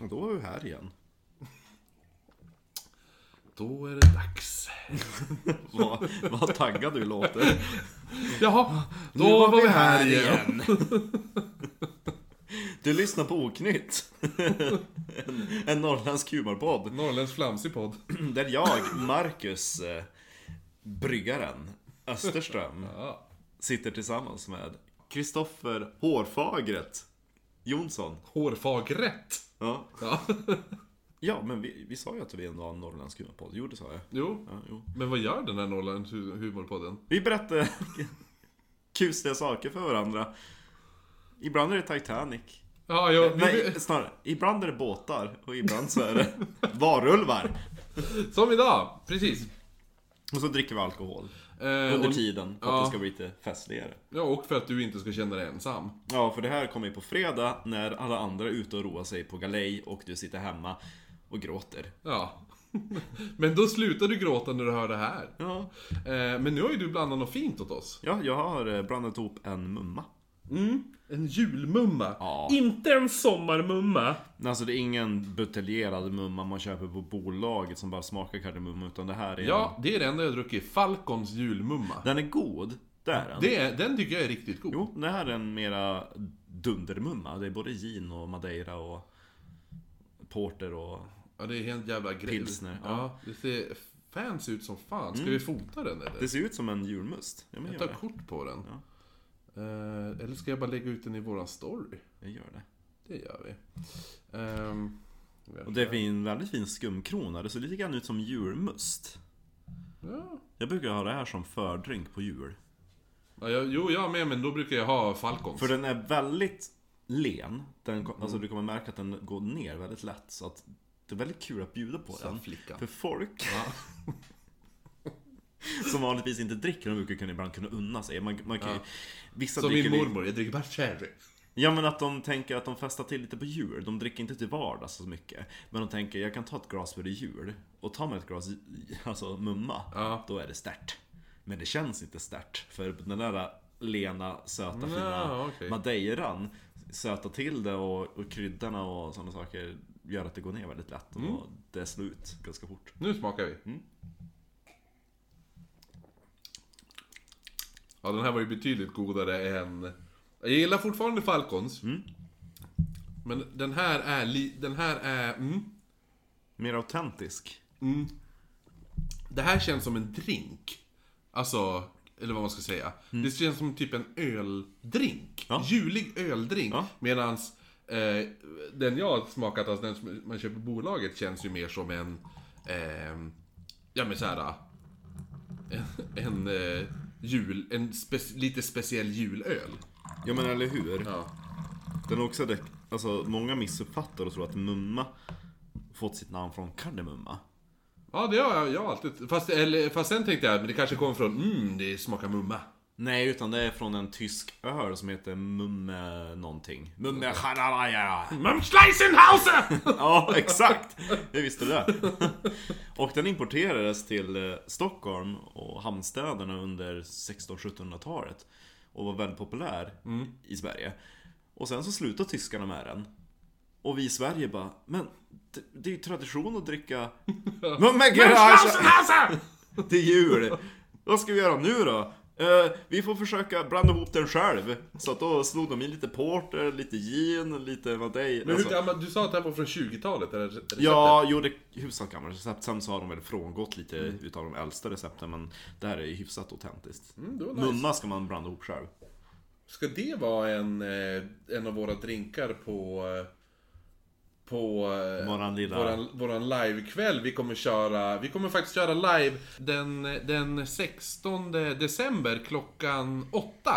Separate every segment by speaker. Speaker 1: Och Då var vi här igen.
Speaker 2: Då är det dags.
Speaker 1: Vad, vad taggad du låter.
Speaker 2: Jaha, då
Speaker 1: Nu
Speaker 2: var vi här igen.
Speaker 1: Du lyssnar på Oknytt. En, en norrländsk humorpodd.
Speaker 2: Norrländsk flamsig podd.
Speaker 1: Där jag, Marcus, eh, bryggaren Österström,
Speaker 2: Ja.
Speaker 1: sitter tillsammans med Kristoffer Hårfagret Jonsson.
Speaker 2: Hårfagrätt.
Speaker 1: Ja,
Speaker 2: Ja.
Speaker 1: ja men vi, vi sa ju att vi ändå har en norrländsk humorpodd. Jo, det sa jag.
Speaker 2: Jo,
Speaker 1: Ja, jo.
Speaker 2: men vad gör den här Norrländsk hu- humorpodden?
Speaker 1: Vi berättar kusliga saker för varandra. Ibland är det Titanic.
Speaker 2: Ja, jag,
Speaker 1: Nej, snarare. Ibland är det båtar och ibland så är det varulvar.
Speaker 2: som idag, precis.
Speaker 1: Och så dricker vi alkohol
Speaker 2: Eh,
Speaker 1: under
Speaker 2: och-
Speaker 1: tiden för att
Speaker 2: ja.
Speaker 1: det ska bli lite festligare.
Speaker 2: Ja, och för att du inte ska känna dig ensam.
Speaker 1: Ja, för det här kommer ju på fredag när alla andra är ute och roar sig på galej och du sitter hemma och gråter.
Speaker 2: Ja. Men då slutar du gråta när du hör det här.
Speaker 1: Ja,
Speaker 2: Eh, men nu har ju du blandat något fint åt oss.
Speaker 1: ja jag har eh, blandat ihop en mumma.
Speaker 2: Mm. En julmumma.
Speaker 1: Ja.
Speaker 2: Inte en sommarmumma.
Speaker 1: Men Alltså det är ingen buteljerad mumma man köper på bolaget som bara smakar kardemumma utan det här är
Speaker 2: Ja, det är det enda jag druckit. Falcons julmumma.
Speaker 1: Den är god, det är den.
Speaker 2: Det är, den tycker jag är riktigt god.
Speaker 1: Jo, det här är en mera dundermumma. Det är både gin och madeira och porter och...
Speaker 2: Ja, det är helt jävla grej.
Speaker 1: Pilsner, Mm.
Speaker 2: Ja. det ser fancy ut som fan. Ska vi fota den eller?
Speaker 1: Det ser ut som en julmust. Ja, men
Speaker 2: Jag
Speaker 1: gör
Speaker 2: tar
Speaker 1: det.
Speaker 2: kort på den. Eh, eller ska jag bara lägga ut den i våran story?
Speaker 1: Jag gör det.
Speaker 2: Det gör vi. Ehm,
Speaker 1: Och det är en väldigt fin skumkrona. Det ser lite grann ut som julmust.
Speaker 2: ja.
Speaker 1: Jag brukar ha det här som fördrink på jul.
Speaker 2: Ja, jag, jo, jag med, men då brukar jag ha Falcons.
Speaker 1: För den är väldigt len. Den, kom-
Speaker 2: Mm.
Speaker 1: Alltså du kommer märka att den går ner väldigt lätt. Så att det är väldigt kul att bjuda på den.
Speaker 2: flickan.
Speaker 1: För folk som vanligtvis inte dricker, de brukar kunna ibland kunna unna sig. Man, man kan, ju-
Speaker 2: Ja.
Speaker 1: Vissa
Speaker 2: Som
Speaker 1: dricker
Speaker 2: min
Speaker 1: lite-
Speaker 2: mormor, jag dricker bara sherry.
Speaker 1: Ja men att de tänker att de festar till lite på jul. De dricker inte till vardags så mycket. Men de tänker, jag kan ta ett glas för det är jul. Och tar man ett glas, alltså mumma,
Speaker 2: Ja.
Speaker 1: då är det stärt. Men det känns inte stärt. För den där lena, söta,
Speaker 2: Ja,
Speaker 1: fina
Speaker 2: okej.
Speaker 1: madeiran söta till det och, och kryddorna och sådana saker gör att det går ner väldigt lätt.
Speaker 2: Mm.
Speaker 1: Och det slår ut ganska fort.
Speaker 2: Nu smakar vi.
Speaker 1: Mm.
Speaker 2: Ja, den här var ju betydligt godare än... Jag gillar fortfarande Falcons.
Speaker 1: Mm.
Speaker 2: Men den här är li... Den här är... Mm.
Speaker 1: Mer autentisk.
Speaker 2: Det här känns som en drink. Alltså, eller vad man ska säga. Det känns som typ en öldrink.
Speaker 1: Mm. Ja.
Speaker 2: Julig öldrink.
Speaker 1: Ja.
Speaker 2: Medans eh, den jag har smakat, alltså den som man köper på bolaget, känns ju mer som en... Eh, ja men såhär... En, en eh, jul... En spe, lite speciell julöl.
Speaker 1: Ja men eller hur?
Speaker 2: Ja.
Speaker 1: Den är också det, alltså många missuppfattar och tror att mumma fått sitt namn från kardemumma.
Speaker 2: Ja, det har jag, jag har alltid... Fast, eller, fast sen tänkte jag, men det kanske kommer från mm, det smakar mumma.
Speaker 1: Nej, utan det är från en tysk öl som heter Mumme någonting. Mumme Charalaya.
Speaker 2: Mumschleisenhauser!
Speaker 1: Ja, exakt! Jag visste det. Och den importerades till eh, Stockholm och hamnstäderna under 1600-1700-talet. Och var väldigt populär i Sverige. Och sen så slutade tyskarna med den. Och vi i Sverige bara, men det, det är ju tradition att dricka Mumme Charalaya.
Speaker 2: Mumschleisenhauser!
Speaker 1: Det är jul! Vad ska vi göra nu då? Eh, vi får försöka blanda ihop den själv. Så att då slog de in lite porter, lite gin, lite madeira.
Speaker 2: Men hur
Speaker 1: Alltså,
Speaker 2: gammal, du sa att det här var från 20-talet, eller receptet?
Speaker 1: ja, jo det är hyfsat gammalt recept. Sen så har de väl frångått lite utav de äldsta recepten. Men det här är ju hyfsat autentiskt.
Speaker 2: Mm, det var nice.
Speaker 1: Mumma ska man blanda ihop själv.
Speaker 2: Ska det vara en, eh, en av våra drinkar på... eh, På... eh,
Speaker 1: Våran lilla-
Speaker 2: Våran, våran livekväll vi kommer köra. Vi kommer faktiskt köra live den, den 16 december klockan 8.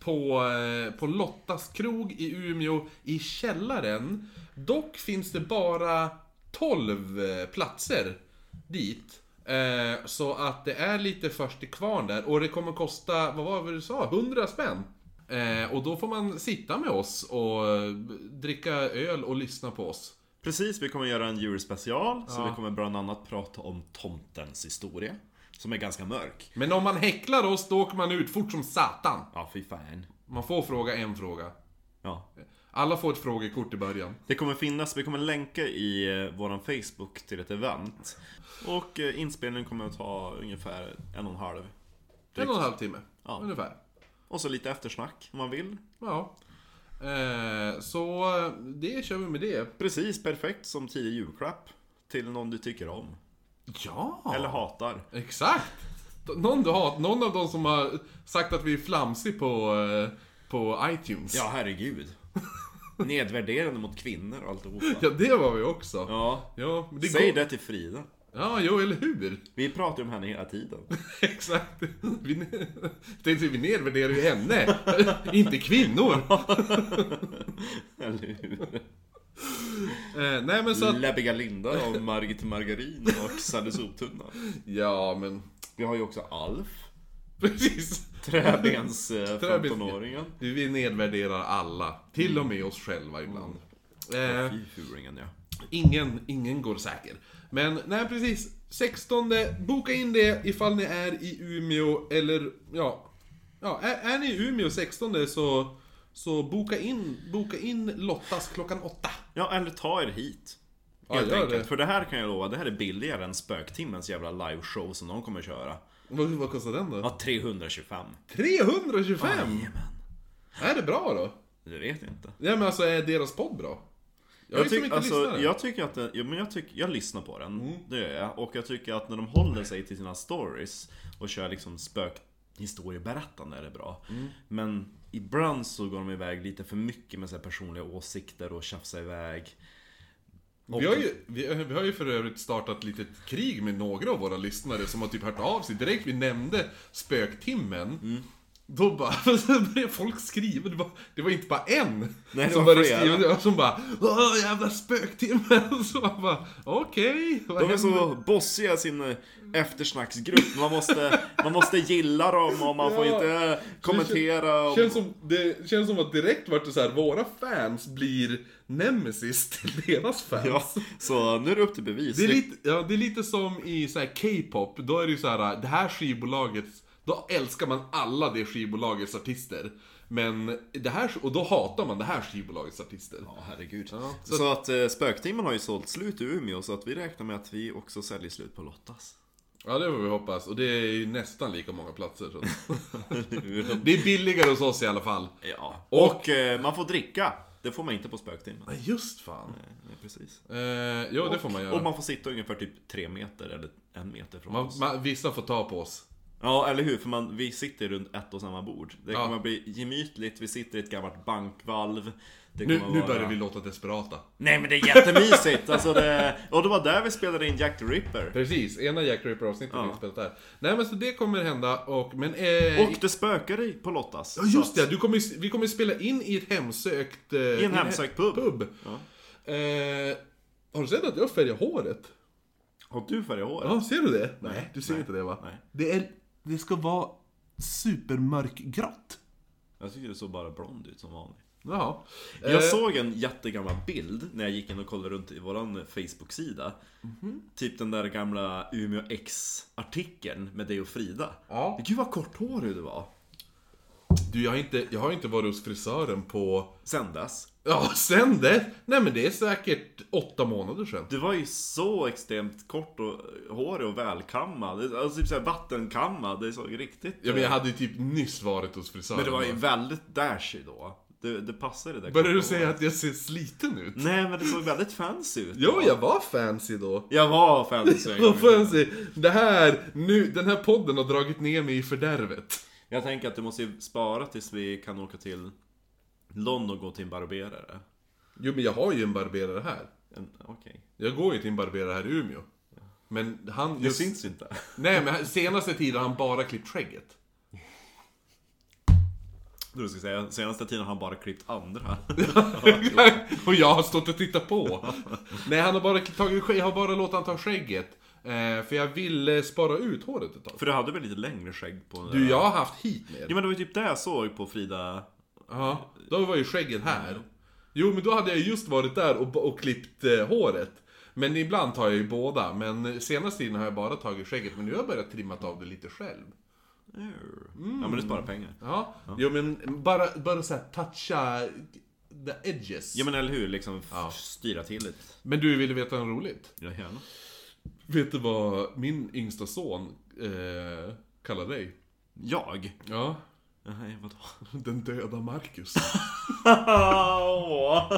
Speaker 2: På, eh, på Lottas krog i Umeå i källaren. Dock finns det bara 12 eh, platser dit. Eh, Så att det är lite först i kvarn där och det kommer kosta, vad var det du sa, 100 spänn? Eh, Och då får man sitta med oss och eh, dricka öl och lyssna på oss.
Speaker 1: Precis, vi kommer göra en julspecial. Så
Speaker 2: Ja.
Speaker 1: vi kommer bland annat prata om tomtens historia. Som är ganska mörk.
Speaker 2: Men om man häcklar oss, då åker man ut fort som satan.
Speaker 1: Ja, fy fan.
Speaker 2: Man får fråga en fråga.
Speaker 1: Ja.
Speaker 2: Alla får ett frågekort i början.
Speaker 1: Det kommer finnas, vi kommer länka i eh, våran Facebook till ett event. Och eh, inspelningen kommer att ta ungefär en och en halv.
Speaker 2: En och en halv timme,
Speaker 1: Ja.
Speaker 2: ungefär.
Speaker 1: Och så lite eftersnack om man vill.
Speaker 2: Ja. Eh, så eh, det kör vi med det.
Speaker 1: Precis perfekt som tidig julklapp. Till någon du tycker om.
Speaker 2: Ja!
Speaker 1: Eller hatar.
Speaker 2: Exakt! Någon, du har, någon av dem som har sagt att vi är flamsig på, eh, på iTunes.
Speaker 1: Ja, herregud. Nedvärderande mot kvinnor och alltihopa.
Speaker 2: Ja, det var vi också. Ja,
Speaker 1: Ja.
Speaker 2: men det
Speaker 1: Säg
Speaker 2: går-
Speaker 1: det till Frida.
Speaker 2: Ja, jo, eller hur?
Speaker 1: Vi pratar ju om henne hela tiden.
Speaker 2: Exakt. Vi, tänkte, vi nedvärderar ju henne, inte kvinnor.
Speaker 1: Eller hur?
Speaker 2: Eh, nej, men så att...
Speaker 1: Läbbiga Linda och Margit Margarin och Sally Soptunna.
Speaker 2: Ja, men
Speaker 1: Vi har ju också Alf.
Speaker 2: precis.
Speaker 1: Träbens eh,
Speaker 2: Träbens-
Speaker 1: 15-åringen.
Speaker 2: Vi nedvärderar alla, till och med oss själva ibland. Eh,
Speaker 1: Fy furingen ja.
Speaker 2: ingen, ingen går säker. Men nej, precis. 16, boka in det ifall ni är i Umeå eller ja... Ja, är, är ni i Umeå 16 så, så boka, in, boka in Lottas klockan 8.
Speaker 1: Ja, eller ta er hit.
Speaker 2: Ja,
Speaker 1: Helt
Speaker 2: gör det.
Speaker 1: enkelt. För det här kan jag lova, det här är billigare än spöktimmens jävla liveshow som de kommer köra.
Speaker 2: Vad, vad kostar den då?
Speaker 1: Ja, 325.
Speaker 2: 325!
Speaker 1: Jajamän.
Speaker 2: Är det bra då?
Speaker 1: Det vet jag inte.
Speaker 2: Ja men alltså är deras podd bra? Jag, har
Speaker 1: Jag,
Speaker 2: liksom
Speaker 1: tyck,
Speaker 2: inte
Speaker 1: alltså,
Speaker 2: lyssnat jag...
Speaker 1: jag tycker att det, ja, men jag, tyck, jag lyssnar på den, det gör jag. Och jag tycker att när de håller sig till sina stories och kör liksom spökhistorieberättande är det bra. Men ibland så går de iväg lite för mycket med sina personliga åsikter och tjafsar iväg.
Speaker 2: vi, har ju, vi, vi har ju för övrigt startat lite krig med några av våra lyssnare som har typ hört av sig direkt vi nämnde spöktimmen
Speaker 1: Mm.
Speaker 2: Då bara, så började folk skriva, det var, det var inte bara en
Speaker 1: Nej, det
Speaker 2: som
Speaker 1: var
Speaker 2: började
Speaker 1: flera.
Speaker 2: skriva det, och som bara Åh jävla spöktimmen! Så man bara, okej, vad
Speaker 1: De är
Speaker 2: händer?
Speaker 1: så bossiga i sin eh, eftersnacksgrupp. Man måste, man måste gilla dem och man får
Speaker 2: Ja.
Speaker 1: inte eh, kommentera. Och...
Speaker 2: Känns som, det känns som att direkt vart det så här, våra fans blir nemesis till deras fans
Speaker 1: Ja, så nu är det upp till bevis.
Speaker 2: Det är lite, ja, det är lite som i så här K-pop, då är det ju så här, det här skivbolaget, då älskar man alla det skivbolagets artister. Men det här, och då hatar man det här skivbolagets artister.
Speaker 1: Ja, herregud.
Speaker 2: så-
Speaker 1: så... att eh, spöktimmen har ju sålt slut i Umeå så att vi räknar med att vi också säljer slut på Lottas.
Speaker 2: Ja, det får vi hoppas. Och det är ju nästan lika många platser. Så. Det är billigare hos oss i alla fall.
Speaker 1: ja.
Speaker 2: Och-
Speaker 1: Och, eh, man får dricka. Det får man inte på spöktimmen.
Speaker 2: Ja, just fan.
Speaker 1: Nej, Precis.
Speaker 2: Eh, jo, det får man
Speaker 1: Och
Speaker 2: göra.
Speaker 1: man får sitta ungefär typ tre meter eller en meter från
Speaker 2: Man,
Speaker 1: oss.
Speaker 2: man, vissa får ta på oss.
Speaker 1: Ja, eller hur? För man, vi sitter runt ett och samma bord. Det
Speaker 2: Ja.
Speaker 1: kommer att bli gemytligt, vi sitter i ett gammalt bankvalv. Det
Speaker 2: Nu,
Speaker 1: kommer
Speaker 2: nu
Speaker 1: vara-
Speaker 2: börjar vi låta desperata.
Speaker 1: Nej men det är jättemysigt! alltså det... Och det var där vi spelade in Jack the Ripper.
Speaker 2: Precis, ena Jack Ripper-avsnittet
Speaker 1: Ja.
Speaker 2: vi spelat där. Nej men så det kommer hända och, men... Eh,
Speaker 1: Och det spökar i på Lottas.
Speaker 2: Ja just det, du kommer, ju- vi kommer ju spela in i ett hemsökt... eh, I
Speaker 1: en hemsökt pub.
Speaker 2: Eh, har du sett att jag färgar håret?
Speaker 1: Har du färg i håret?
Speaker 2: Ja, ser du det? Nej, du ser inte det va?
Speaker 1: Nej.
Speaker 2: Det, är, det ska vara supermörkgrått.
Speaker 1: Jag tycker du såg bara blond ut som vanligt.
Speaker 2: Jaha. Eh,
Speaker 1: Jag såg en jättegammal bild när jag gick in och kollade runt i våran Facebook-sida.
Speaker 2: Mhm.
Speaker 1: Typ den där gamla Umeå X-artikeln med dig och Frida.
Speaker 2: Ja.
Speaker 1: Gud vad korthårig du var.
Speaker 2: Du, jag har, inte, jag har inte varit hos frisören på...
Speaker 1: Sen dess.
Speaker 2: Ja, sen det. Nej men det är säkert åtta månader sedan.
Speaker 1: Du var ju så extremt kort och hårig och välkammad. Alltså typ såhär vattenkammad. Det såg riktigt... eh,
Speaker 2: Ja men jag hade ju typ nyss varit hos frisören.
Speaker 1: Men det var ju väldigt dashy då. Det, det passade det där
Speaker 2: Börjar du
Speaker 1: korta
Speaker 2: säga
Speaker 1: håret.
Speaker 2: att jag ser sliten ut?
Speaker 1: Nej men det såg väldigt fancy ut.
Speaker 2: Jo, jag var fancy då.
Speaker 1: Jag var fancy.
Speaker 2: Vad fan säger Det här, nu, den här podden har dragit ner mig i fördärvet.
Speaker 1: Jag tänker att du måste ju spara tills vi kan åka till London och gå till en barberare.
Speaker 2: Jo men jag har ju en barberare här.
Speaker 1: En- Okej.
Speaker 2: Jag går ju till en barberare här i Umeå. Men han...
Speaker 1: Det
Speaker 2: Just,
Speaker 1: syns inte.
Speaker 2: Nej men senaste tiden har han bara klippt skägget.
Speaker 1: Du ska säga, senaste tiden har han bara klippt andra.
Speaker 2: och jag har stått och tittat på. Nej han har bara tagit skägg, jag har bara låtit han ta skägget. Eh, för jag ville spara ut håret ett tag.
Speaker 1: För du hade väl lite längre skägg på den
Speaker 2: Du,
Speaker 1: där-
Speaker 2: jag har haft hit mer.
Speaker 1: Ja men det var ju typ det jag såg på Frida.
Speaker 2: Ja, då var ju skägget här. Jo, men då hade jag just varit där och, och klippt eh, håret. Men ibland tar jag ju båda, men senaste tiden har jag bara tagit skägget, men nu har jag börjat trimmat av det lite själv.
Speaker 1: Mm. Ja men det sparar pengar.
Speaker 2: Ja, jo men bara, bara så här toucha the edges.
Speaker 1: Ja men eller hur, liksom f-
Speaker 2: Ja.
Speaker 1: styra till lite.
Speaker 2: Men du, ville veta något roligt?
Speaker 1: Ja, gärna.
Speaker 2: Vet du vad min yngsta son eh, kallar dig?
Speaker 1: Jag?
Speaker 2: Ja,
Speaker 1: Nej, vadå?
Speaker 2: den döda Marcus.
Speaker 1: Åh.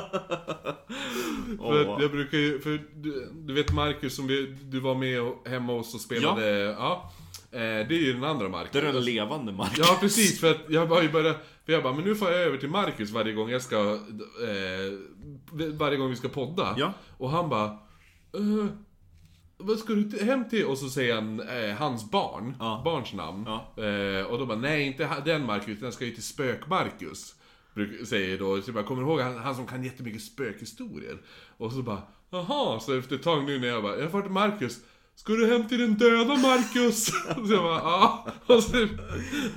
Speaker 2: För
Speaker 1: Åh.
Speaker 2: jag brukar ju, för du, du vet Marcus som vi, du var med och, hemma hos och spelade, ja. Eh, det är ju den andra Marcus.
Speaker 1: Det är den levande Marcus.
Speaker 2: Ja precis, för att jag bara, jag bara, för jag bara, men nu får jag över till Marcus varje gång jag ska, eh, varje gång vi ska podda.
Speaker 1: Ja.
Speaker 2: Och han bara, eh, vad ska du till- hem till? Och så säger han eh, hans barn,
Speaker 1: Ja.
Speaker 2: barns namn.
Speaker 1: Ja.
Speaker 2: Eh, och då bara, nej inte ha- den Marcus, utan jag ska ju till spök-Marcus. bruk- Säger då, så jag bara, kommer du ihåg han, han som kan jättemycket spökhistorier? Och så bara, jaha, så efter ett tag nu när jag bara, jag får till Marcus. Ska du hem till den döda Marcus? så jag bara, ja. Och så,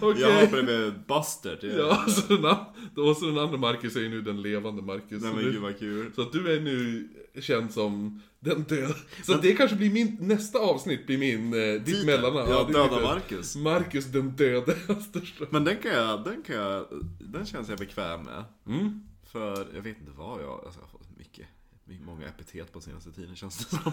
Speaker 2: okej.
Speaker 1: Jag hoppade med Buster till...
Speaker 2: Ja, så den, an- och så den andra Marcus är ju nu den levande Marcus.
Speaker 1: Nej
Speaker 2: Så
Speaker 1: men
Speaker 2: nu-
Speaker 1: gud vad kul.
Speaker 2: så att du är nu känd som den döda. Så att det kanske blir min, nästa avsnitt blir min, eh, ditt
Speaker 1: Titeln.
Speaker 2: mellannamn.
Speaker 1: Ja,
Speaker 2: det är
Speaker 1: döda
Speaker 2: ditt-
Speaker 1: Marcus.
Speaker 2: Marcus den döde Östersund.
Speaker 1: Men den kan jag, den kan jag, den känns jag bekväm med.
Speaker 2: Mm.
Speaker 1: För jag vet inte vad jag, alltså jag har fått mycket, många epitet på senaste tiden känns det som.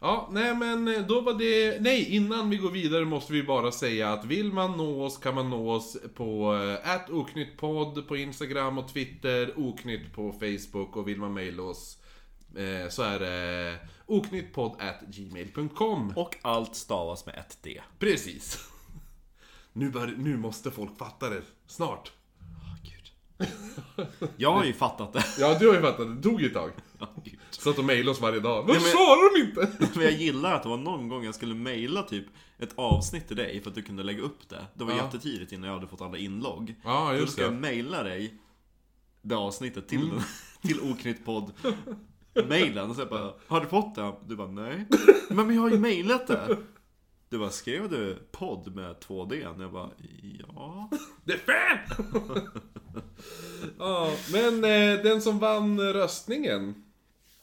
Speaker 2: Ja, nej men eh, då var det, nej innan vi går vidare måste vi bara säga att vill man nå oss kan man nå oss på att oknyttpodd på Instagram och Twitter, oknytt på Facebook och vill man mejla oss eh, så är det oknyttpodd gmail.com.
Speaker 1: Och allt stavas med ett D.
Speaker 2: Precis. Nu, bör, nu måste folk fatta det. Snart.
Speaker 1: Ah, gud. Jag har ju fattat det.
Speaker 2: Ja, du har ju fattat. Det tog ju ett tag.
Speaker 1: Ah, gud.
Speaker 2: Satt och mejlade oss varje dag. Varför
Speaker 1: men-
Speaker 2: svarar de inte?
Speaker 1: Men jag gillar att det var någon gång jag skulle mejla typ ett avsnitt till dig för att du kunde lägga upp det. Det var
Speaker 2: Ja.
Speaker 1: jättetidigt innan jag hade fått alla inlogg.
Speaker 2: Ja,
Speaker 1: Då
Speaker 2: just
Speaker 1: ska jag
Speaker 2: det. Mm.
Speaker 1: mejla dig det avsnittet till, den, till Oknytt podd mejlen och så jag bara Har du fått det? Du bara nej Men, men jag har ju mejlat det Du bara skrev du podd med 2D? Och jag bara ja
Speaker 2: Det är fan! ja, men eh, den som vann röstningen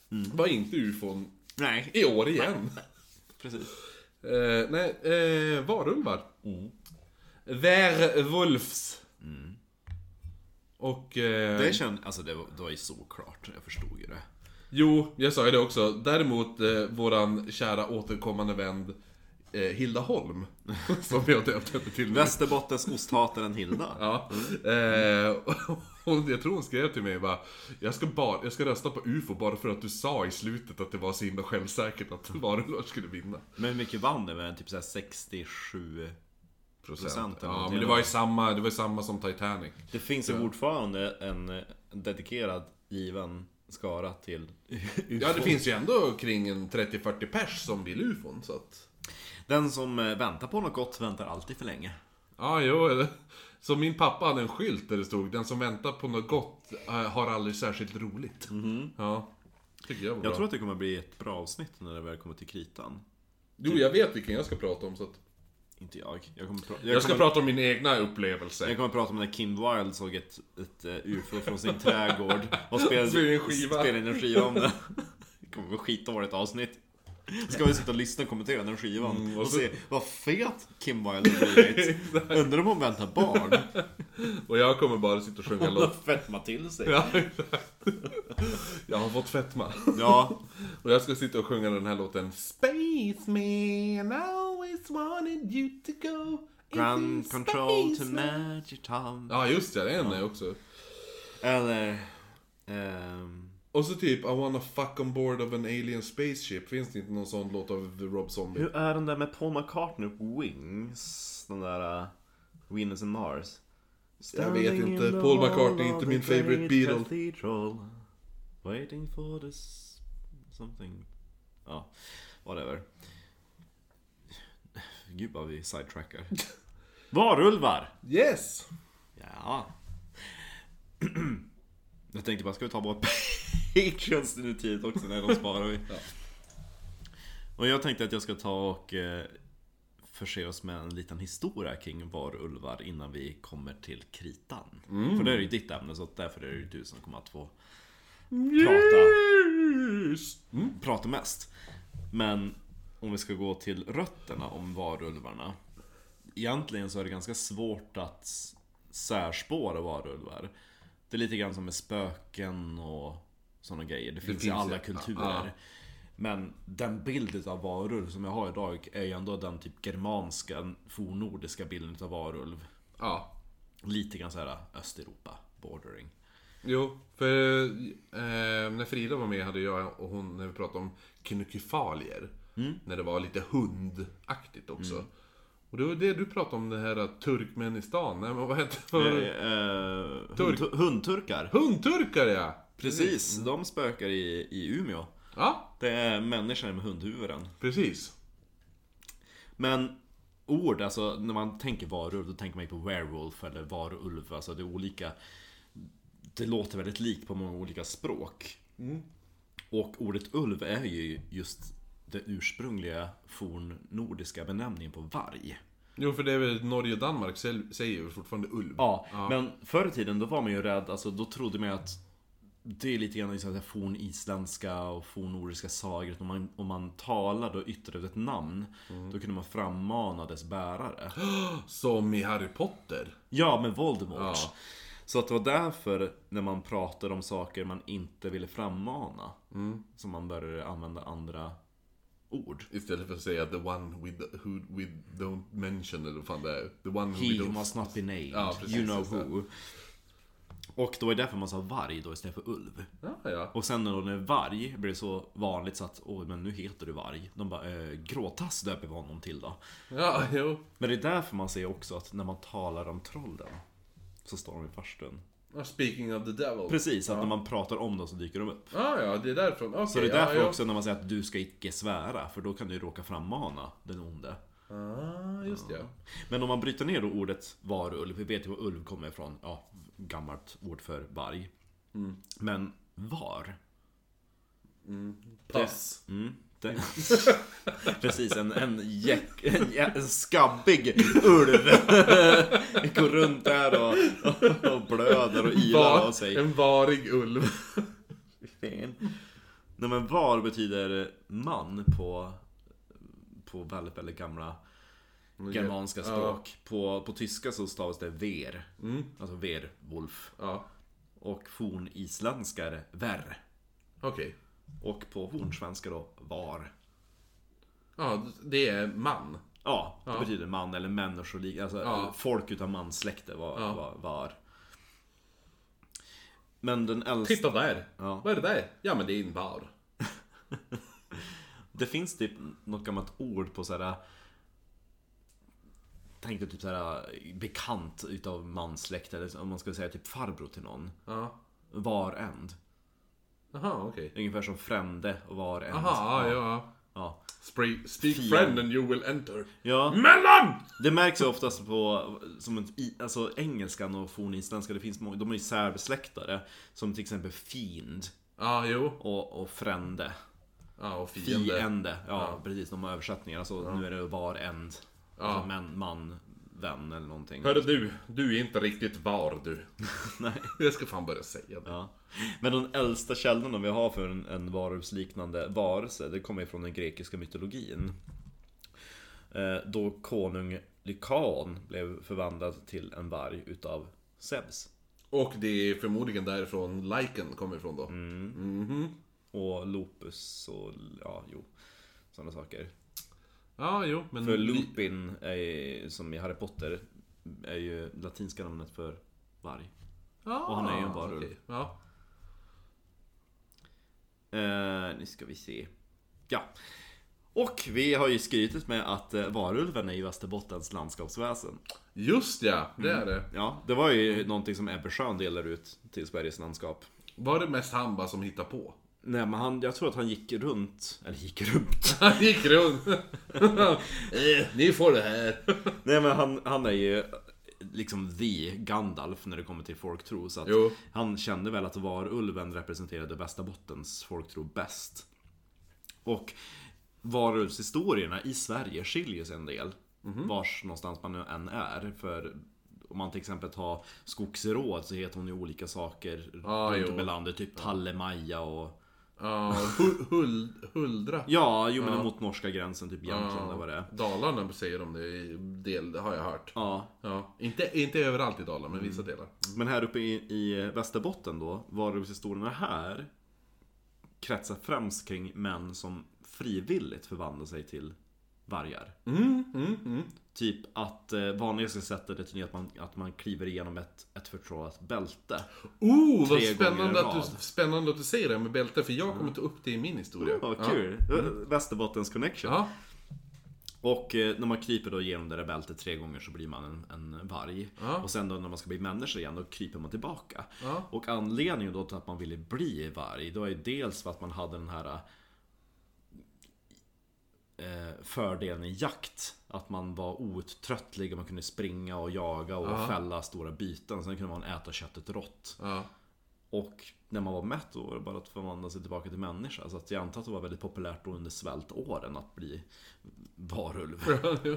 Speaker 2: var inte ufon
Speaker 1: Nej
Speaker 2: i år igen.
Speaker 1: Precis
Speaker 2: Eh, nej, eh, varulvar. Werwolfs. Mm. Och... Eh,
Speaker 1: Det känns, alltså det var, det var ju såklart Jag förstod ju det
Speaker 2: Jo, jag sa ju det också. Däremot eh, våran kära återkommande vän eh, Hilda Holm, som jag döpt henne till nu.
Speaker 1: Västerbottens osthataren Hilda
Speaker 2: Ja. Eh, hon, jag tror hon skrev till mig bara, jag ska, bara, jag ska rösta på UFO bara för att du sa i slutet att det var så himla självsäkert att varulvar skulle vinna.
Speaker 1: Men hur mycket vann det? Var det Typ såhär 67 Procent eller
Speaker 2: Ja,
Speaker 1: någonting.
Speaker 2: men det var ju samma, det var ju samma som Titanic.
Speaker 1: Det finns ju fortfarande en eh, dedikerad given skara till
Speaker 2: Ja, det finns ju ändå kring en 30-40 pers som vill UFOn, så att...
Speaker 1: Den som eh, väntar på något gott väntar alltid för länge
Speaker 2: Ja, jo. eller- Så min pappa hade en skylt där det stod Den som väntar på något gott eh, har aldrig särskilt roligt. Ja. Tycker jag var bra.
Speaker 1: Jag tror att det kommer bli ett bra avsnitt när det väl kommer till kritan.
Speaker 2: Jo, jag vet vilken jag ska prata om så att...
Speaker 1: Inte jag. Jag kommer, pra-
Speaker 2: Jag ska
Speaker 1: kommer,
Speaker 2: prata om min egna upplevelse.
Speaker 1: jag kommer prata om när Kim Wilde såg ett, ett eh, UFO från sin trädgård och spelade,
Speaker 2: Spelade in en skiva.
Speaker 1: spelade in en skiva om det. Det kommer bli skitdåligt avsnitt. Ska vi sitta och lyssna och kommentera den skivan och,
Speaker 2: och Mm, så-
Speaker 1: se vad fet Kim Wilde har blivit. Undrar om hon väntar barn.
Speaker 2: Och jag kommer bara sitta och sjunga
Speaker 1: Hon har
Speaker 2: låt.
Speaker 1: fetma till sig.
Speaker 2: Ja, exakt. Jag har fått fetma.
Speaker 1: Ja,
Speaker 2: Och jag ska sitta och sjunga den här låten. Spaceman always wanted you to go
Speaker 1: Grand
Speaker 2: into
Speaker 1: control to
Speaker 2: space."
Speaker 1: magic time.
Speaker 2: Ja, just det. Det är en också.
Speaker 1: Eller... ehm,
Speaker 2: Och så typ I wanna fuck on board of an alien spaceship. Finns det inte någon sån låt av Rob Zombie?
Speaker 1: Hur är den där med Paul McCartney och Wings? Den där uh, Venus and Mars?
Speaker 2: Jag vet
Speaker 1: Standing
Speaker 2: inte.
Speaker 1: in the
Speaker 2: Paul McCartney
Speaker 1: hall
Speaker 2: är
Speaker 1: of
Speaker 2: inte min
Speaker 1: the
Speaker 2: favorite
Speaker 1: great
Speaker 2: Beatle.
Speaker 1: Cathedral, waiting for this... Something... Ja, whatever. Gud vad vi sidetrackar. Varulvar!
Speaker 2: Yes!
Speaker 1: Ja. Jag tänkte bara, ska vi ta våra Patreons nu tidigt också? när de sparar vi. Och jag tänkte att jag ska ta och eh, förse oss med en liten historia kring varulvar innan vi kommer till kritan. För det är ju ditt ämne, så att därför är det ju du som kommer att få prata,
Speaker 2: Yes! Mm.
Speaker 1: prata mest. Men om vi ska gå till rötterna om varulvarna. Egentligen så är det ganska svårt att s- särspåra varulvar. Det är lite grann som med spöken och sådana grejer. Det, finns i
Speaker 2: finns
Speaker 1: alla
Speaker 2: ju, ja,
Speaker 1: kulturer.
Speaker 2: ja.
Speaker 1: Men den bilden av varulv som jag har idag är ju ändå den typ germanska, fornnordiska bilden av varulv.
Speaker 2: Ja.
Speaker 1: Lite grann såhär Östeuropa, bordering.
Speaker 2: Jo, för eh, när Frida var med hade jag och hon, när vi pratade om knukifalier.
Speaker 1: Mm.
Speaker 2: När det var lite hundaktigt också. Och det var det du pratade om, det här eh, Turkmenistan. Nej, men vad hette det?
Speaker 1: Eh,
Speaker 2: för-
Speaker 1: eh,
Speaker 2: Turk.
Speaker 1: hund, hundturkar.
Speaker 2: Hundturkar ja!
Speaker 1: Precis, de spökar i, i Umeå.
Speaker 2: Ja,
Speaker 1: Det är människor med hundhuvuden.
Speaker 2: precis.
Speaker 1: Men ord, alltså när man tänker varulv, då tänker man ju på werewolf eller varulv. Alltså det är olika... Det låter väldigt likt på många olika språk. Och ordet ulv är ju just den ursprungliga fornnordiska benämningen på varg.
Speaker 2: Jo, för det är väl Norge och Danmark säl- säger väl fortfarande ulv?
Speaker 1: Ja, men förr i tiden då var man ju rädd, alltså då trodde man ju att det är lite grann liksom det här fornisländska och fornnordiska sagor. Om man, om man talade och yttrade ett namn,
Speaker 2: Mm.
Speaker 1: då kunde man frammana dess bärare.
Speaker 2: Som i Harry Potter.
Speaker 1: Ja, med Voldemort.
Speaker 2: Ja.
Speaker 1: Så att det var därför, när man pratade om saker man inte ville frammana,
Speaker 2: Mm.
Speaker 1: som man började använda andra ord.
Speaker 2: Istället för att säga the one we, do- who we don't mention, eller vad fan det är. The one who
Speaker 1: He
Speaker 2: we don't...
Speaker 1: must not be named,
Speaker 2: Ja, precis,
Speaker 1: you know
Speaker 2: just det.
Speaker 1: who. Och då är det därför man sa varg då istället för ulv.
Speaker 2: Ja, ja.
Speaker 1: Och sen då när varg blev så vanligt så att åh men nu heter du varg. De bara eh, gråtass döper vi honom till då.
Speaker 2: Ja, jo.
Speaker 1: Men det är därför man säger också att när man talar om trollen så står de i farstun.
Speaker 2: Ja, Speaking of the devil.
Speaker 1: Precis, att när man pratar om dem så dyker de upp.
Speaker 2: Ja, ja, det är därför. Okay,
Speaker 1: Så det är därför
Speaker 2: ja, ja.
Speaker 1: också när man säger att du ska icke svära för då kan du ju råka frammana den onde.
Speaker 2: Ah, just det.
Speaker 1: Men om man bryter ner då ordet varulv, vi vet ju var ulv kommer ifrån, ja, gammalt ord för varg.
Speaker 2: Mm.
Speaker 1: Men var,
Speaker 2: Pass.
Speaker 1: Mm, det... Precis, en, en, jäck, en, jä- en skabbig ulv går runt där och, och blöder och ilar av
Speaker 2: Var,
Speaker 1: sig.
Speaker 2: en varig ulv.
Speaker 1: Fin. Nej men var betyder man på, på väldigt, väldigt gamla germanska
Speaker 2: Ja. Mm.
Speaker 1: språk. På, på tyska så stavas det ver, alltså verwolf.
Speaker 2: Ja,
Speaker 1: Och fornisländska är det ver.
Speaker 2: okej.
Speaker 1: Och på hornsvenska då var.
Speaker 2: Ja, det är man.
Speaker 1: Ja, det betyder man eller människolik, alltså
Speaker 2: Ja.
Speaker 1: folk utan manssläkte var,
Speaker 2: Ja.
Speaker 1: var, var. Men den äldsta...
Speaker 2: Titta där!
Speaker 1: Ja.
Speaker 2: Vad är det där? Ja, men det är en var.
Speaker 1: Det finns typ något gammalt ord på såhär... Tänkte typ såhär bekant utav manssläkte, eller om man skulle säga typ farbror till någon.
Speaker 2: Ja.
Speaker 1: Varänd.
Speaker 2: Aha, okej.
Speaker 1: Ungefär som frände och varänd.
Speaker 2: Aha, ja. ja.
Speaker 1: Ja.
Speaker 2: Spre- speak
Speaker 1: Fian.
Speaker 2: friend and you will enter.
Speaker 1: ja.
Speaker 2: Mellan!
Speaker 1: Det märks ju oftast på, som ett, i- alltså engelskan och fornisländska, det finns många, de är ju särbesläktade. Som till exempel fiend
Speaker 2: Ja, jo.
Speaker 1: och, och frände.
Speaker 2: Ja, och fiende.
Speaker 1: Fiende, ja, precis, de har översättningar. Alltså nu är det var end. Alltså, män, man, vän eller någonting.
Speaker 2: Hörru du, du är inte riktigt var du.
Speaker 1: Nej.
Speaker 2: Jag ska fan börja säga det.
Speaker 1: Ja. Men de äldsta källorna vi har för en, en varulvsliknande varelse, det kommer ju från den grekiska mytologin. Eh, Då konung Lykaon blev förvandlad till en varg utav Zeus.
Speaker 2: Och det är förmodligen därifrån liken kommer ifrån då.
Speaker 1: Mm. Och Lopus och ja, jo. Sådana saker.
Speaker 2: Ja, jo, men...
Speaker 1: För Lupin, är, som i Harry Potter, är ju latinska namnet för varg.
Speaker 2: Ja,
Speaker 1: och han är ju en varulv.
Speaker 2: okej. Ja.
Speaker 1: Eh, nu ska vi se. Ja. Och vi har ju skrytit med att eh, varulven är ju Västerbottens landskapsväsen.
Speaker 2: Just ja, det
Speaker 1: Mm.
Speaker 2: är det.
Speaker 1: Ja, det var ju någonting som Ebbe Schön delar ut till Sveriges landskap.
Speaker 2: Var det mest han bara som hittade på?
Speaker 1: Nej, men han, jag tror att han gick runt, eller gick runt.
Speaker 2: Han gick runt. Eh, Ni får det här.
Speaker 1: Nej, men han, han är ju eh, liksom the Gandalf när det kommer till folktro. Så att
Speaker 2: Jo.
Speaker 1: han kände väl att varulven representerade Västerbottens folktro bäst. Och varulvshistorierna i Sverige skiljer sig en del.
Speaker 2: Mhm.
Speaker 1: Vars någonstans man nu än är. För om man till exempel tar Skogsråd så heter hon ju olika saker
Speaker 2: Ah,
Speaker 1: runt
Speaker 2: jo.
Speaker 1: om i landet. Typ Tallemaja och
Speaker 2: Ja, hu- hul, Huldra.
Speaker 1: Ja, jo men mot norska gränsen typ Jämtland eller
Speaker 2: Ja,
Speaker 1: vad det är.
Speaker 2: Dalarna säger de det i del, det har jag hört.
Speaker 1: Ja,
Speaker 2: Ja, inte, inte överallt i Dalarna, men vissa
Speaker 1: Mm.
Speaker 2: delar.
Speaker 1: men här uppe i, i Västerbotten då, varulvshistorierna här kretsar främst kring män som frivilligt förvandlar sig till vargar.
Speaker 2: Mm, mm, mm.
Speaker 1: Typ att eh, vanligaste sättet är tydligen att man, att man kliver igenom ett, ett förtråat bälte.
Speaker 2: Oh, vad
Speaker 1: Tre gånger
Speaker 2: spännande
Speaker 1: i
Speaker 2: att, du,
Speaker 1: rad. Mm.
Speaker 2: spännande att du säger det med bälte, för jag kommer ta upp det i min historia.
Speaker 1: Vad kul!
Speaker 2: Mm.
Speaker 1: Eh, Västerbottens connection.
Speaker 2: Ja.
Speaker 1: Och eh, när man kryper då genom det där bältet tre gånger så blir man en, en varg.
Speaker 2: Ja.
Speaker 1: Och sen då när man ska bli människa igen, då kryper man tillbaka.
Speaker 2: Ja.
Speaker 1: Och anledningen då till att man ville bli varg, det var ju dels för att man hade den här eh, fördelen i jakt. Att man var outtröttlig och man kunde springa och jaga och fälla stora byten. Sen kunde man äta köttet rått.
Speaker 2: Ja.
Speaker 1: Och när man var mätt då var det bara att förvandla sig tillbaka till människa. Så att jag antar att det var väldigt populärt då under svältåren att bli varulv.
Speaker 2: ja.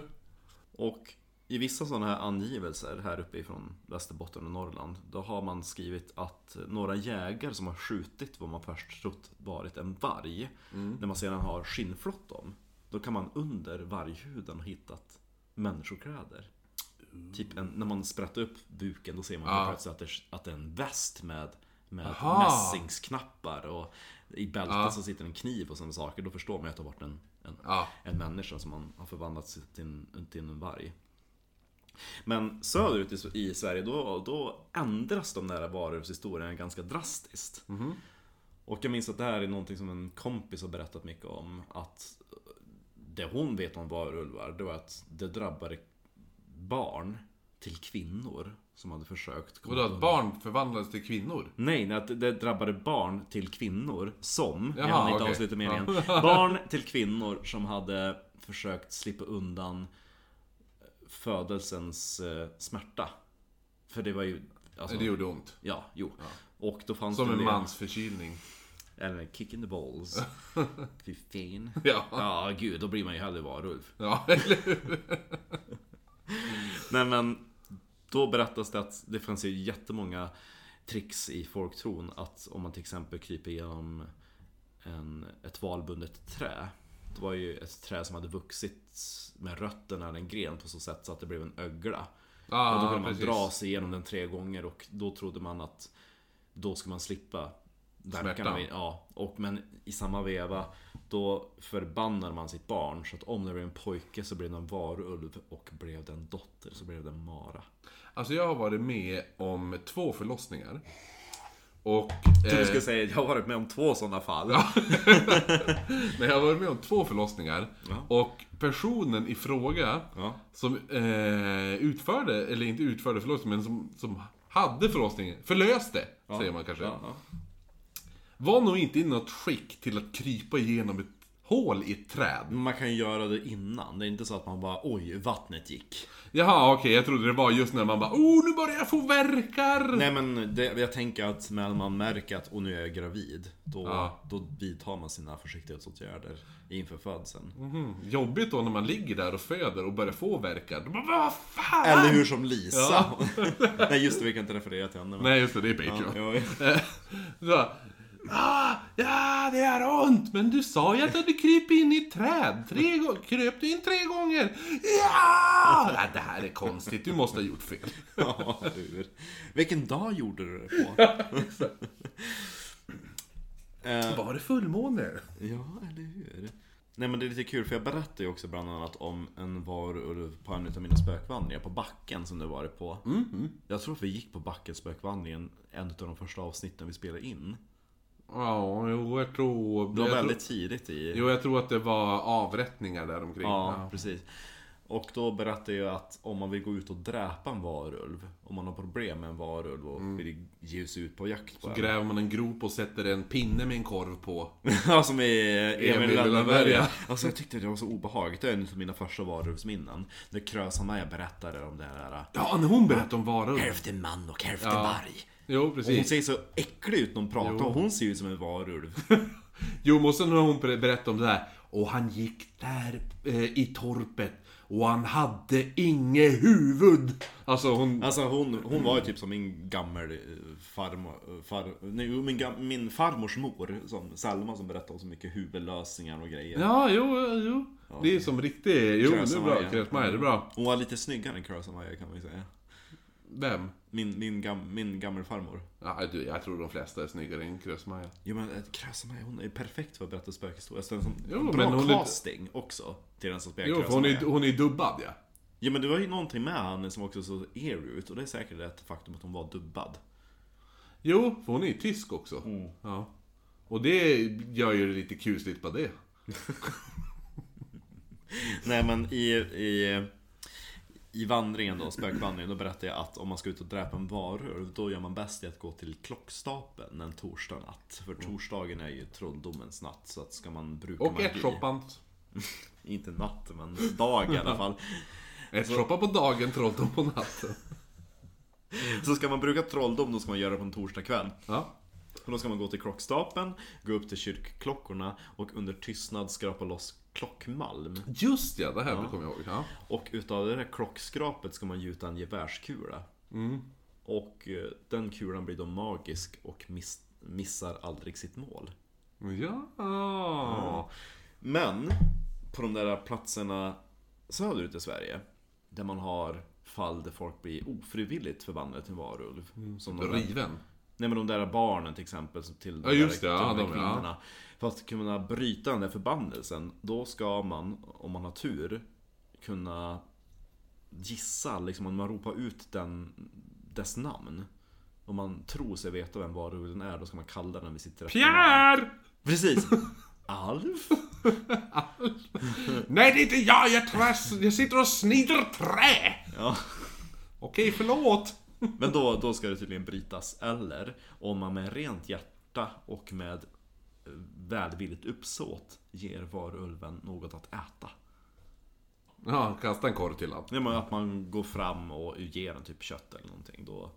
Speaker 1: Och i vissa sådana här angivelser här uppe ifrån Västerbotten och Norrland Då har man skrivit att några jägare som har skjutit vad man först trott varit en varg
Speaker 2: Mm.
Speaker 1: När man sedan har skinnflott om Då kan man under varghuden ha hittat människokläder Typ en, när man sprättar upp buken då ser man
Speaker 2: Ja.
Speaker 1: ja. plötsligt att det, att det är en väst med med
Speaker 2: Aha.
Speaker 1: mässingsknappar och i bältet
Speaker 2: Ja.
Speaker 1: så sitter en kniv och sådana saker. Då förstår man ju att det har varit en, en,
Speaker 2: Ja.
Speaker 1: en människa som man har förvandlats till en, till en varg. Men söderut i, i Sverige då, då ändras de där varulvshistorierna ganska drastiskt. Och jag minns att det här är någonting som en kompis har berättat mycket om. Att det hon vet om varulvar, det var att det drabbade barn till kvinnor som hade försökt komma
Speaker 2: Vadå, att barn förvandlades till kvinnor?
Speaker 1: Nej, nej, att det drabbade barn till kvinnor som,
Speaker 2: Jaha,
Speaker 1: jag hann inte
Speaker 2: okej.
Speaker 1: avsluta meningen.
Speaker 2: Ja.
Speaker 1: Barn till kvinnor som hade försökt slippa undan födelsens eh, smärta. För det var ju, alltså,
Speaker 2: Det gjorde ont.
Speaker 1: ja, jo. Och då fanns
Speaker 2: Som
Speaker 1: det
Speaker 2: en
Speaker 1: del-
Speaker 2: mans förkylning.
Speaker 1: Eller kick in the balls. Fy fin.
Speaker 2: Ja.
Speaker 1: Ja, gud, då blir man ju hellre varulv.
Speaker 2: Ja, eller hur?
Speaker 1: Nej men då berättas det att det fanns ju jättemånga tricks i folktron att om man till exempel kryper igenom en, ett valbundet trä. Det var ju ett trä som hade vuxit med rötterna eller en gren på så sätt så att det blev en ögla. och då
Speaker 2: Ja,
Speaker 1: kunde man
Speaker 2: Ah, precis.
Speaker 1: dra sig igenom den tre gånger och då trodde man att då ska man slippa
Speaker 2: Smärtan.
Speaker 1: verkarna. Ja, och men i samma veva då förbannar man sitt barn så att om det blev en pojke så blev det en varulv och blev det en dotter så blev det en mara.
Speaker 2: Alltså jag har varit med om två förlossningar. Och...
Speaker 1: Du
Speaker 2: eh,
Speaker 1: ska säga jag har varit med om två sådana fall.
Speaker 2: Nej, jag har varit med om två förlossningar.
Speaker 1: Ja.
Speaker 2: Och personen i fråga
Speaker 1: Ja.
Speaker 2: som eh, utförde, eller inte utförde förlossningen, men som, som hade förlossningen, förlöste, säger man kanske.
Speaker 1: Ja, ja.
Speaker 2: Var nog inte i något skick till att krypa igenom ett hål i ett träd.
Speaker 1: Men Man kan ju göra det innan. Det är inte så att man bara oj, vattnet gick.
Speaker 2: Jaha, okej, jag trodde det var just när man bara oh, nu börjar jag få verkar.
Speaker 1: Nej men det, jag tänker att när man märker att och nu är jag gravid Då,
Speaker 2: Ja.
Speaker 1: då vidtar man sina försiktighetsåtgärder inför födseln
Speaker 2: Mm, jobbigt då när man ligger där och föder och börjar få verkar. Då bara, Vad fan!
Speaker 1: Eller hur som Lisa! Nej just det, vi kan inte referera till henne men...
Speaker 2: Nej, just det, det är Patreon.
Speaker 1: Ja,
Speaker 2: Så, ah, ja, det gör ont, men du sa ju att du hade krypit in i ett träd. Tre gånger, kröp du in tre gånger? Ja! ja! Det här är konstigt, du måste ha gjort fel.
Speaker 1: ja, hur? Vilken dag gjorde du det på? Eh,
Speaker 2: Var det fullmåne?
Speaker 1: Ja, eller hur? Nej men det är lite kul för jag berättade ju också bland annat om en varulv på en utav mina spökvandringar på backen som du varit på.
Speaker 2: Mm-hmm.
Speaker 1: Jag tror att vi gick på backen spökvandringen en utav de första avsnitten vi spelade in.
Speaker 2: Ja, jo, jag tror...
Speaker 1: Det var
Speaker 2: jag
Speaker 1: väldigt
Speaker 2: Tror,
Speaker 1: tidigt i...
Speaker 2: jo, jag tror att det var avrättningar där omkring.
Speaker 1: Ja, precis. Och då berättade jag att om man vill gå ut och dräpa en varulv, om man har problem med en varulv och
Speaker 2: Mm.
Speaker 1: vill ge sig ut på jakt på den.
Speaker 2: Gräver man en grop och sätter en pinne med en korv på.
Speaker 1: Ja, som i eh, Emil
Speaker 2: Emil
Speaker 1: i
Speaker 2: Lönneberga.
Speaker 1: Lönneberga. Alltså jag tyckte det var så obehagligt. Det är en av mina första varulvsminnen. När Krösa-Maja berättade om det här.
Speaker 2: Ja, när hon berättade om varulv.
Speaker 1: Hälften man och hälften
Speaker 2: Ja.
Speaker 1: varg.
Speaker 2: Jo,
Speaker 1: Och hon
Speaker 2: precis.
Speaker 1: ser så äcklig ut när hon pratar och hon ser ju ut som en varulv.
Speaker 2: Jo, men sen när hon ber- berättade om det där. Och han gick där eh, i torpet. Och han hade inget huvud. Alltså hon...
Speaker 1: Alltså hon, hon var ju typ som min gammel eh, farmor, far, nej, jo, min, gam, min farmors mor, som, Selma som berättade om så mycket huvudlösningar och grejer.
Speaker 2: Ja, jo, jo. Det är som riktig... Jo, det är bra.
Speaker 1: Krösamaya.
Speaker 2: Krösmaja, det är bra.
Speaker 1: Hon var lite snyggare än Kurosamaya kan man ju säga.
Speaker 2: Vem?
Speaker 1: Min, min, gam, min gammelfarmor.
Speaker 2: Ja, du, jag tror de flesta är snyggare än Krösmaja.
Speaker 1: Jo men eh, Kurosamaya, hon är perfekt för att berätta spökhistorier. Alltså, det är en sån
Speaker 2: Jo,
Speaker 1: bra
Speaker 2: men hon är-
Speaker 1: casting också. Till den som spelar
Speaker 2: Jo, för hon
Speaker 1: Kurosamaya.
Speaker 2: är, hon är dubbad ja.
Speaker 1: Ja men det var ju någonting med henne som också såg er ut. Och det är säkert det faktum att hon var dubbad.
Speaker 2: Jo, för hon är ju tysk också.
Speaker 1: Mm.
Speaker 2: Ja. Och det gör ju det lite kusligt på det.
Speaker 1: Nej men i, i, i vandringen då, spökvandringen, då berättade jag att om man ska ut och dräpa en varulv då gör man bäst i att gå till klockstapeln en torsdag natt. För torsdagen är ju trolldomens natt så att ska man Alltså- bruka
Speaker 2: Mm. Och
Speaker 1: magi.
Speaker 2: ärtsoppan.
Speaker 1: Inte natt men dag i alla fall.
Speaker 2: Ärtsoppa på dagen, trolldom på natten.
Speaker 1: Så ska man bruka trolldom då ska man göra det på en torsdag kväll.
Speaker 2: Ja.
Speaker 1: Och då ska man gå till klockstapeln, gå upp till kyrkklockorna och under tystnad skrapa loss klockmalm.
Speaker 2: Just ja, det här kommer jag ihåg. Ja.
Speaker 1: Och utav det där klockskrapet ska man gjuta en gevärskula. Och eh, den kulan blir då magisk och miss, missar aldrig sitt mål.
Speaker 2: Ja.
Speaker 1: Men på de där platserna söderut i Sverige, där man har fall där folk blir ofrivilligt förvandlade till varulv. Som de där,
Speaker 2: Riven.
Speaker 1: nej men de där barnen till exempel som till de
Speaker 2: Ja, just
Speaker 1: där
Speaker 2: det, ja,
Speaker 1: gamla
Speaker 2: de, ja.
Speaker 1: kvinnorna. För att kunna bryta den där förbannelsen, då ska man, om man har tur, kunna gissa, liksom om man ropar ut den, dess namn. Om man tror sig veta vem varulven är, då ska man kalla den vid sitt rätta namn.
Speaker 2: Pierre!
Speaker 1: Precis! Alf?
Speaker 2: Nej, det är inte jag! Jag, träs, jag sitter och snider trä!
Speaker 1: Ja.
Speaker 2: Okej, förlåt!
Speaker 1: Men då, då ska det tydligen brytas. Eller om man med rent hjärta och med eh, välvilligt uppsåt ger varulven något att äta.
Speaker 2: Ja, kasta en korv till honom.
Speaker 1: Ja, men att man går fram och ger en typ kött eller någonting då.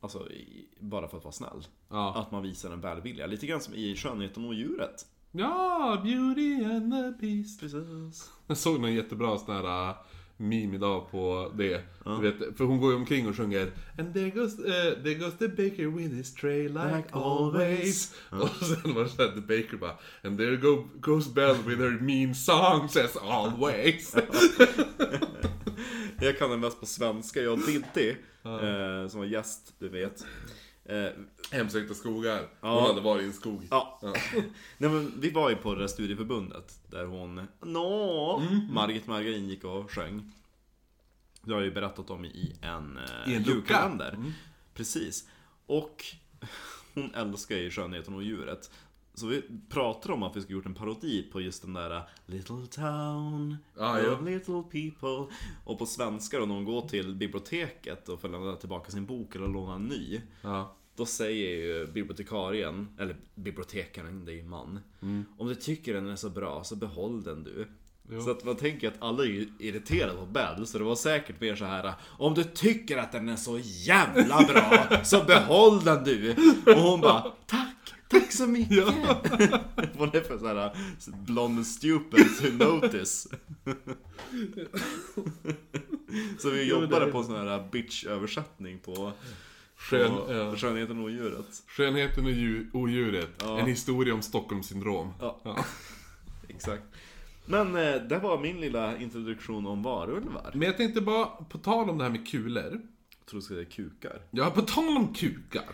Speaker 1: Alltså, i- bara för att vara snäll.
Speaker 2: Ja.
Speaker 1: Att man visar en välvilja. Lite grann som i Skönheten och djuret.
Speaker 2: ja, eh, beauty and the beast.
Speaker 1: Precis.
Speaker 2: Jag såg någon jättebra sån här äh, meme idag på det. Du vet, för hon går ju omkring och sjunger And there goes, eh, there goes the baker with his tray like,
Speaker 1: Like
Speaker 2: always. Och sen var det såhär, the baker bara And there go, goes Belle with her mean songs as always.
Speaker 1: Jag kan den mest på svenska. Jag och Dinti, eh, som var gäst, du vet. Eh,
Speaker 2: Hemsökta skogar.
Speaker 1: Ja.
Speaker 2: Hon hade varit i en skog.
Speaker 1: Ja. Nej, men vi var ju på det där studieförbundet där hon, nå,
Speaker 2: Mm.
Speaker 1: Margit Margarin gick och sjöng. Det har jag ju berättat om i en, eh,
Speaker 2: I en lucka. Mm.
Speaker 1: julkalender. Precis. Och hon älskar ju Skönheten och djuret. Så vi pratade om att vi skulle gjort en parodi på just den där eh, Little town,
Speaker 2: Ah, Ja, ja.
Speaker 1: of little people. Och på svenska då när hon går till biblioteket och får lämna tillbaka sin bok eller låna en ny.
Speaker 2: Ja.
Speaker 1: Då säger ju bibliotekarien, eller bibliotekaren, det är ju man.
Speaker 2: Mm.
Speaker 1: Om du tycker den är så bra så behåll den du. Så att man tänker att alla är ju irriterade på Bell, så det var säkert mer så här Om du tycker att den är så jävla bra så behåll den du! Och hon bara Tack! Tack så mycket! Vad är det för så här blond stupid to notice? så vi
Speaker 2: Jo, det-
Speaker 1: jobbade på sån här bitch-översättning på
Speaker 2: Skön,
Speaker 1: och
Speaker 2: ja.
Speaker 1: Skönheten och djuret.
Speaker 2: Skönheten och dju- odjuret. En historia om Stockholmssyndrom.
Speaker 1: Ja. Exakt. Men eh, det var min lilla introduktion om varulvar.
Speaker 2: Men jag tänkte bara, på tal om det här med kulor.
Speaker 1: Jag tror du ska säga kukar.
Speaker 2: Ja, på tal om kukar.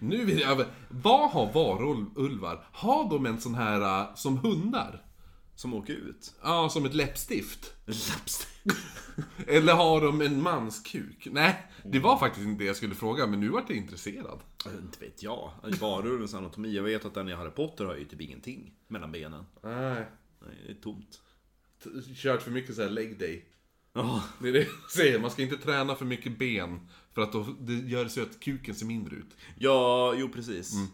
Speaker 2: Nu vill jag... Vad har varulvar? Har de en sån här äh, som hundar?
Speaker 1: Som åker ut.
Speaker 2: Ja, som ett läppstift?
Speaker 1: Lapstick.
Speaker 2: Eller har de en manskuk? Nej, det var faktiskt inte det jag skulle fråga, men nu vart jag intresserad.
Speaker 1: Inte vet jag. Varulvens anatomi. Jag vet att den i Harry Potter har ju typ ingenting mellan benen.
Speaker 2: Nej.
Speaker 1: Nej, det är tomt.
Speaker 2: Kört för mycket så här leg day.
Speaker 1: Ja,
Speaker 2: Det är det jag säger, man ska inte träna för mycket ben. För att då, det gör så att kuken ser mindre ut.
Speaker 1: ja jo precis.
Speaker 2: Mm.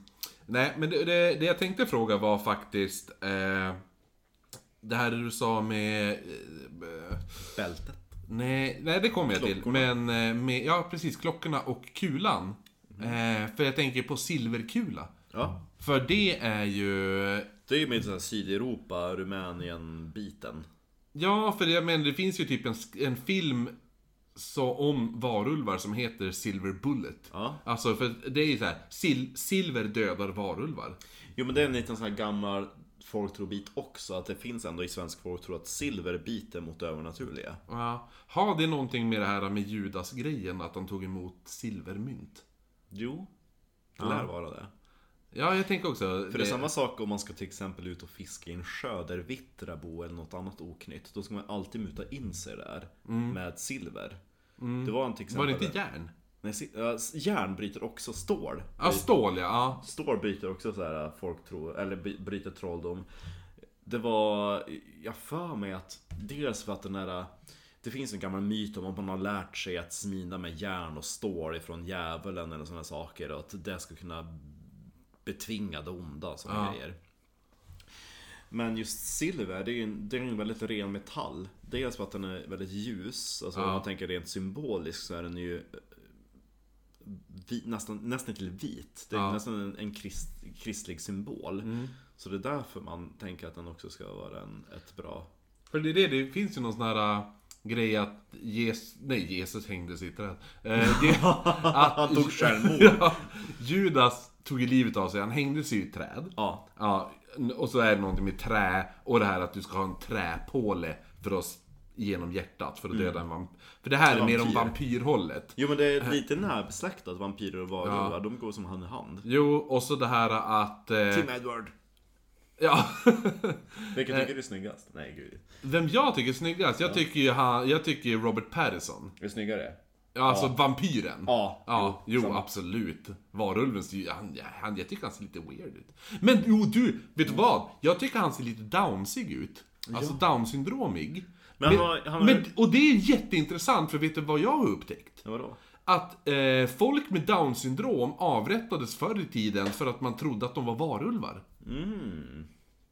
Speaker 2: Nej, men det, det, det jag tänkte fråga var faktiskt... Eh, det här du sa med... Eh,
Speaker 1: Bältet.
Speaker 2: Nej, nej det kommer jag till.
Speaker 1: Klockorna.
Speaker 2: Men eh, med, ja, precis, klockorna och kulan.
Speaker 1: Mm.
Speaker 2: Eh, för jag tänker på silverkula.
Speaker 1: Ja.
Speaker 2: För det är ju...
Speaker 1: Det är ju med sån här Sydeuropa, Rumänien-biten.
Speaker 2: Ja, för jag menar, det finns ju typ en, sk- en film så om varulvar som heter Silver Bullet.
Speaker 1: Ja.
Speaker 2: Alltså, för det är ju så här, sil, silver dödar varulvar.
Speaker 1: Jo men det är en liten sån här gammal folktrobit också, att det finns ändå i svensk folktro att silver biter mot det övernaturliga.
Speaker 2: Ja. Har det någonting med det här med Judas-grejen, att han tog emot silvermynt?
Speaker 1: Jo, det lär vara det.
Speaker 2: Ja, jag tänker också... eh,
Speaker 1: För det är samma sak om man ska till exempel ut och fiska i en sjö där vittra bo eller något annat oknytt. Då ska man alltid muta in sig där med silver. Det var en till
Speaker 2: Mm.
Speaker 1: exempel...
Speaker 2: Var det inte järn?
Speaker 1: Nej, si- ja, s- järn bryter också stål.
Speaker 2: Ja, stål ja. ja.
Speaker 1: Stål bryter också så här äh, folk tror, eller by- bryter trolldom. Det var, jag för mig att dels för att den här äh, det finns en gammal myt om att man har lärt sig att smida med järn och stål ifrån djävulen eller sådana saker och att det ska kunna betvinga det onda som
Speaker 2: Ja.
Speaker 1: grejer. Men just silver, det är ju en, det är en väldigt ren metall. Dels för att den är väldigt ljus, alltså om
Speaker 2: Ja.
Speaker 1: man tänker rent symboliskt så är den ju vi, nästan, nästan till vit. Det är
Speaker 2: Ja.
Speaker 1: nästan en, en krist, kristlig symbol. Så det är därför man tänker att den också ska vara en, ett bra...
Speaker 2: För det är det, det finns ju någon sån här äh, grej att Jesus, nej Jesus hängde sitt träd. Eh, det- att,
Speaker 1: Han tog självmord.
Speaker 2: ja, Judas tog ju livet av sig, han hängde sig i ett träd.
Speaker 1: Ja,
Speaker 2: Ja, och så är det någonting med trä och det här att du ska ha en träpåle för att s- genom hjärtat för att
Speaker 1: Mm.
Speaker 2: döda en vampyr. För det här är mer om vampyrhållet.
Speaker 1: Jo men det är lite närbesläktat vampyrer och varulvar, de går som hand i hand.
Speaker 2: Jo, och så det här att... Eh,
Speaker 1: Tim Edward.
Speaker 2: ja.
Speaker 1: Vilken tycker du är snyggast? Eh. Nej gud.
Speaker 2: Vem jag tycker är snyggast? Jag tycker ju han, jag tycker ju Robert Pattinson.
Speaker 1: Är snyggare?
Speaker 2: Ja, alltså vampyren.
Speaker 1: Ja.
Speaker 2: Ja, jo, absolut. Varulven ser ju, han, han, jag tycker han ser lite weird ut. Men jo, du, vet du vad? Jag tycker han ser lite downsig ut. Alltså downsyndromig.
Speaker 1: Men han var- han var-
Speaker 2: men, och det är jätteintressant, för vet du vad jag har upptäckt?
Speaker 1: Ja, vadå?
Speaker 2: Att eh, folk med downsyndrom avrättades förr i tiden för att man trodde att de var varulvar.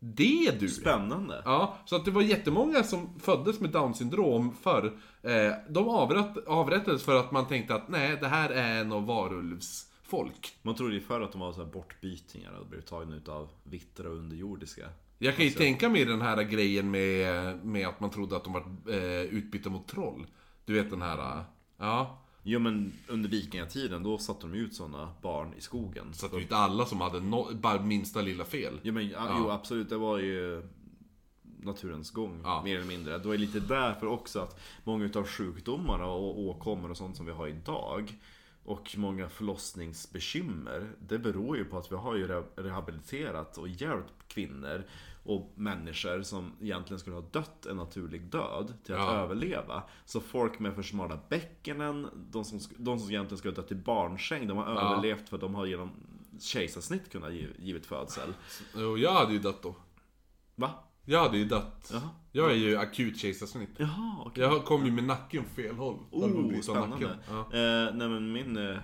Speaker 2: Det du!
Speaker 1: Spännande.
Speaker 2: Ja, så att det var jättemånga som föddes med Downs syndrom förr. Eh, de avrätt, avrättades för att man tänkte att nej, det här är en av varulvsfolk.
Speaker 1: Man trodde ju förr att de var så här bortbytingar och blev tagna utav vittra och underjordiska.
Speaker 2: Jag kan ju
Speaker 1: Alltså.
Speaker 2: tänka mig den här grejen med, med att man trodde att de var eh, utbytta mot troll. Du vet den här... eh, Ja.
Speaker 1: Jo men under vikingatiden då satte de ut sådana barn i skogen.
Speaker 2: Så att det var inte alla som hade no, bara minsta lilla fel.
Speaker 1: Jo men ja. jo, absolut, det var ju naturens gång
Speaker 2: Ja.
Speaker 1: mer eller mindre. Det var ju lite därför också att många utav sjukdomarna och åkommor och sånt som vi har idag och många förlossningsbekymmer det beror ju på att vi har ju re- rehabiliterat och hjälpt kvinnor och människor som egentligen skulle ha dött en naturlig död till att
Speaker 2: Ja.
Speaker 1: överleva. Så folk med för smala bäckenen, de som, sk- de som egentligen skulle ha dött i barnsäng, de har överlevt för att de har genom kejsarsnitt kunnat gi- givit födsel.
Speaker 2: Och jag hade ju dött då.
Speaker 1: Va?
Speaker 2: Jag hade ju dött.
Speaker 1: Jaha.
Speaker 2: Jag är ju akut kejsarsnitt.
Speaker 1: Jaha, okej.
Speaker 2: Jag kom ju med nacken fel håll. Jag höll på att
Speaker 1: Oh,
Speaker 2: bryta
Speaker 1: spännande.
Speaker 2: nacken. Ja.
Speaker 1: Eh, nej men min, eh, eh,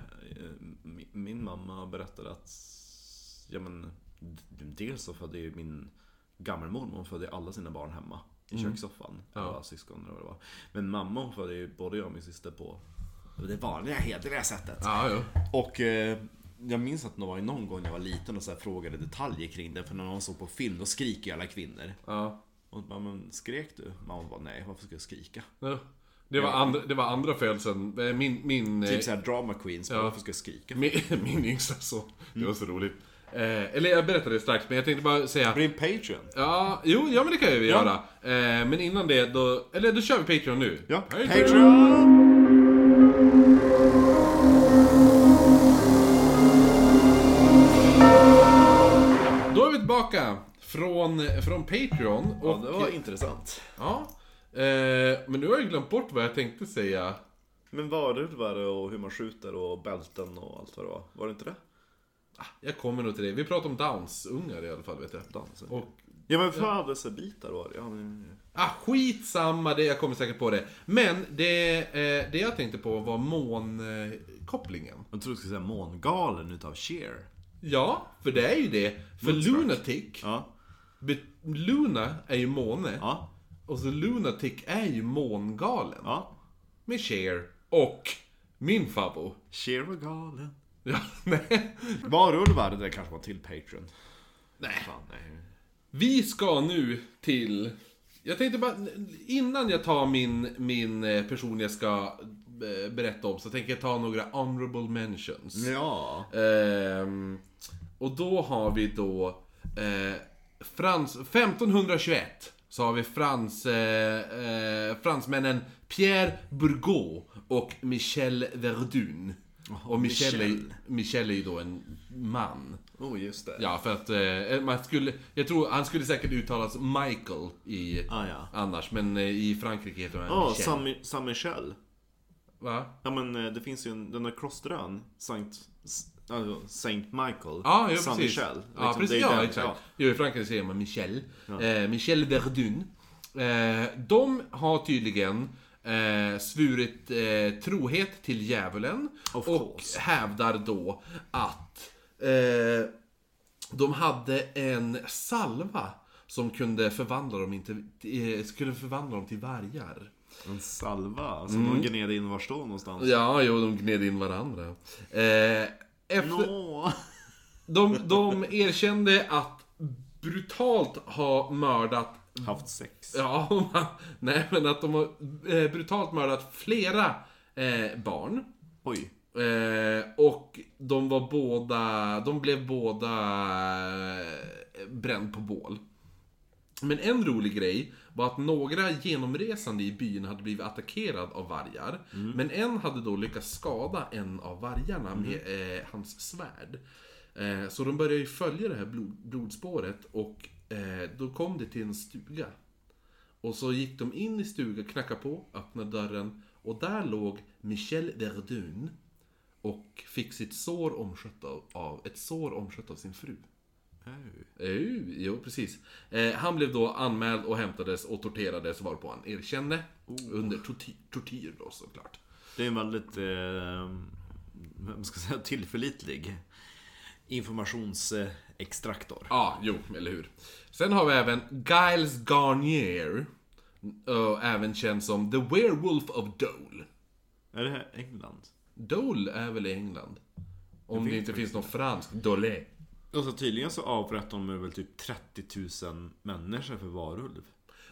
Speaker 1: mi- min mamma berättade att ja, men, d- dels så födde ju min gammelmormor, hon födde alla sina barn hemma i kökssoffan. Alla syskon eller vad det var. Men mamma hon födde ju både jag och min syster på det vanliga hederliga sättet.
Speaker 2: Ja, ja.
Speaker 1: Och eh, jag minns att det var ju någon gång när jag var liten och så här frågade detaljer kring det. För när någon såg på film då skriker ju alla kvinnor.
Speaker 2: ja.
Speaker 1: Och bara, men skrek du? Mamma bara, nej varför ska jag skrika?
Speaker 2: Ja. Det var, andra, det var andra födelsen. Eh, Min, min, eh,
Speaker 1: Typ såhär drama queens, bara, varför ska jag skrika?
Speaker 2: min, min yngsta son.
Speaker 1: Mm.
Speaker 2: Det var så roligt. Eh, eller jag berättar det strax, men jag tänkte bara säga...
Speaker 1: Bli en Patreon!
Speaker 2: Ja, jo, ja men det kan vi göra. Eh, men innan det, då... Eller då kör vi Patreon nu.
Speaker 1: Ja,
Speaker 2: Hej då!
Speaker 1: Patreon!
Speaker 2: Då är vi tillbaka från, från Patreon. Och,
Speaker 1: Ja, det var intressant.
Speaker 2: ja. Eh, men nu har jag glömt bort vad jag tänkte säga.
Speaker 1: Men varulvar och hur man skjuter och bälten och allt vad det var. Var det inte det?
Speaker 2: Jag kommer nog till det. Vi pratar om Downs-ungar i alla fall, vet jag.
Speaker 1: Dansen.
Speaker 2: Och
Speaker 1: Ja men födelsebitar var det. Ja, men,
Speaker 2: Ah, skitsamma, det, jag kommer säkert på det. Men det, eh, det jag tänkte på var månkopplingen.
Speaker 1: jag trodde du skulle säga mångalen utav Cher.
Speaker 2: Ja, för det är ju det. För lunatic,
Speaker 1: Ja.
Speaker 2: bet- Luna är ju måne.
Speaker 1: Ja.
Speaker 2: Och så lunatic är ju mångalen.
Speaker 1: Ja.
Speaker 2: Med Cher och min favvo.
Speaker 1: Cher var galen.
Speaker 2: Ja, nej.
Speaker 1: Varulvar, det där kanske var till Patreon.
Speaker 2: nej.
Speaker 1: Fan, nej.
Speaker 2: Vi ska nu till Jag tänkte bara, innan jag tar min, min eh, person jag ska eh, berätta om så tänker jag ta några honorable mentions.
Speaker 1: Ja.
Speaker 2: Ehm, och då har vi då eh, Frans, 1521 så har vi Frans, eh, eh, fransmännen Pierre Burgot och Michel Verdun. och Michel,
Speaker 1: Michel.
Speaker 2: Är, Michel är ju då en man.
Speaker 1: Oh, just det.
Speaker 2: Ja, för att eh, man skulle, jag tror han skulle säkert uttalas Michael i,
Speaker 1: Ah, ja.
Speaker 2: annars, men eh, i Frankrike heter han
Speaker 1: Ja,
Speaker 2: Michel.
Speaker 1: San- San Michel.
Speaker 2: Va?
Speaker 1: Ja men eh, det finns ju en, den där klosterön, Sankt, S- alltså, Saint Michael.
Speaker 2: Ja, ja
Speaker 1: Saint
Speaker 2: precis.
Speaker 1: Michel.
Speaker 2: ja,
Speaker 1: Liksom, det
Speaker 2: precis.
Speaker 1: är
Speaker 2: Ja,
Speaker 1: den-
Speaker 2: exakt.
Speaker 1: ja.
Speaker 2: Jo, i Frankrike säger man Michel. Eh, Michel Verdun. Eh, de har tydligen eh, svurit eh, trohet till djävulen.
Speaker 1: Of
Speaker 2: och
Speaker 1: course.
Speaker 2: hävdar då att eh, de hade en salva som kunde förvandla dem, inte, eh, skulle förvandla dem till vargar.
Speaker 1: En salva som de gned in var står någonstans.
Speaker 2: Mm. Ja, jo, de gned in varandra. Eh, efter,
Speaker 1: Nå.
Speaker 2: De, de erkände att brutalt ha mördat
Speaker 1: Haft sex.
Speaker 2: Ja, om man- nej men att de har eh, brutalt mördat flera eh, barn.
Speaker 1: Oj.
Speaker 2: Eh, och de var båda, de blev båda eh, bränd på bål. Men en rolig grej var att några genomresande i byn hade blivit attackerad av vargar. Men en hade då lyckats skada en av vargarna med eh, hans svärd. Eh, så de började ju följa det här blod, blodspåret och eh, då kom det till en stuga. Och så gick de in i stugan, knackade på, öppnade dörren och där låg Michel Verdun och fick sitt sår omskött av, av, ett sår omskött av sin fru.
Speaker 1: Au.
Speaker 2: Uh, jo, precis. Eh, han blev då anmäld och hämtades och torterades varpå han erkände.
Speaker 1: Oh.
Speaker 2: Under torti- tortyr då såklart.
Speaker 1: Det är en väldigt, eh, vad ska jag säga, tillförlitlig informationsextraktor.
Speaker 2: Ja, jo, eller hur. Sen har vi även Giles Garnier. Och även känd som The Werewolf of Dole.
Speaker 1: Är det här England?
Speaker 2: Dole är väl i England? Om det inte finns någon fransk. Dole.
Speaker 1: Alltså tydligen så avrättade de väl typ 30 000 människor för varulv.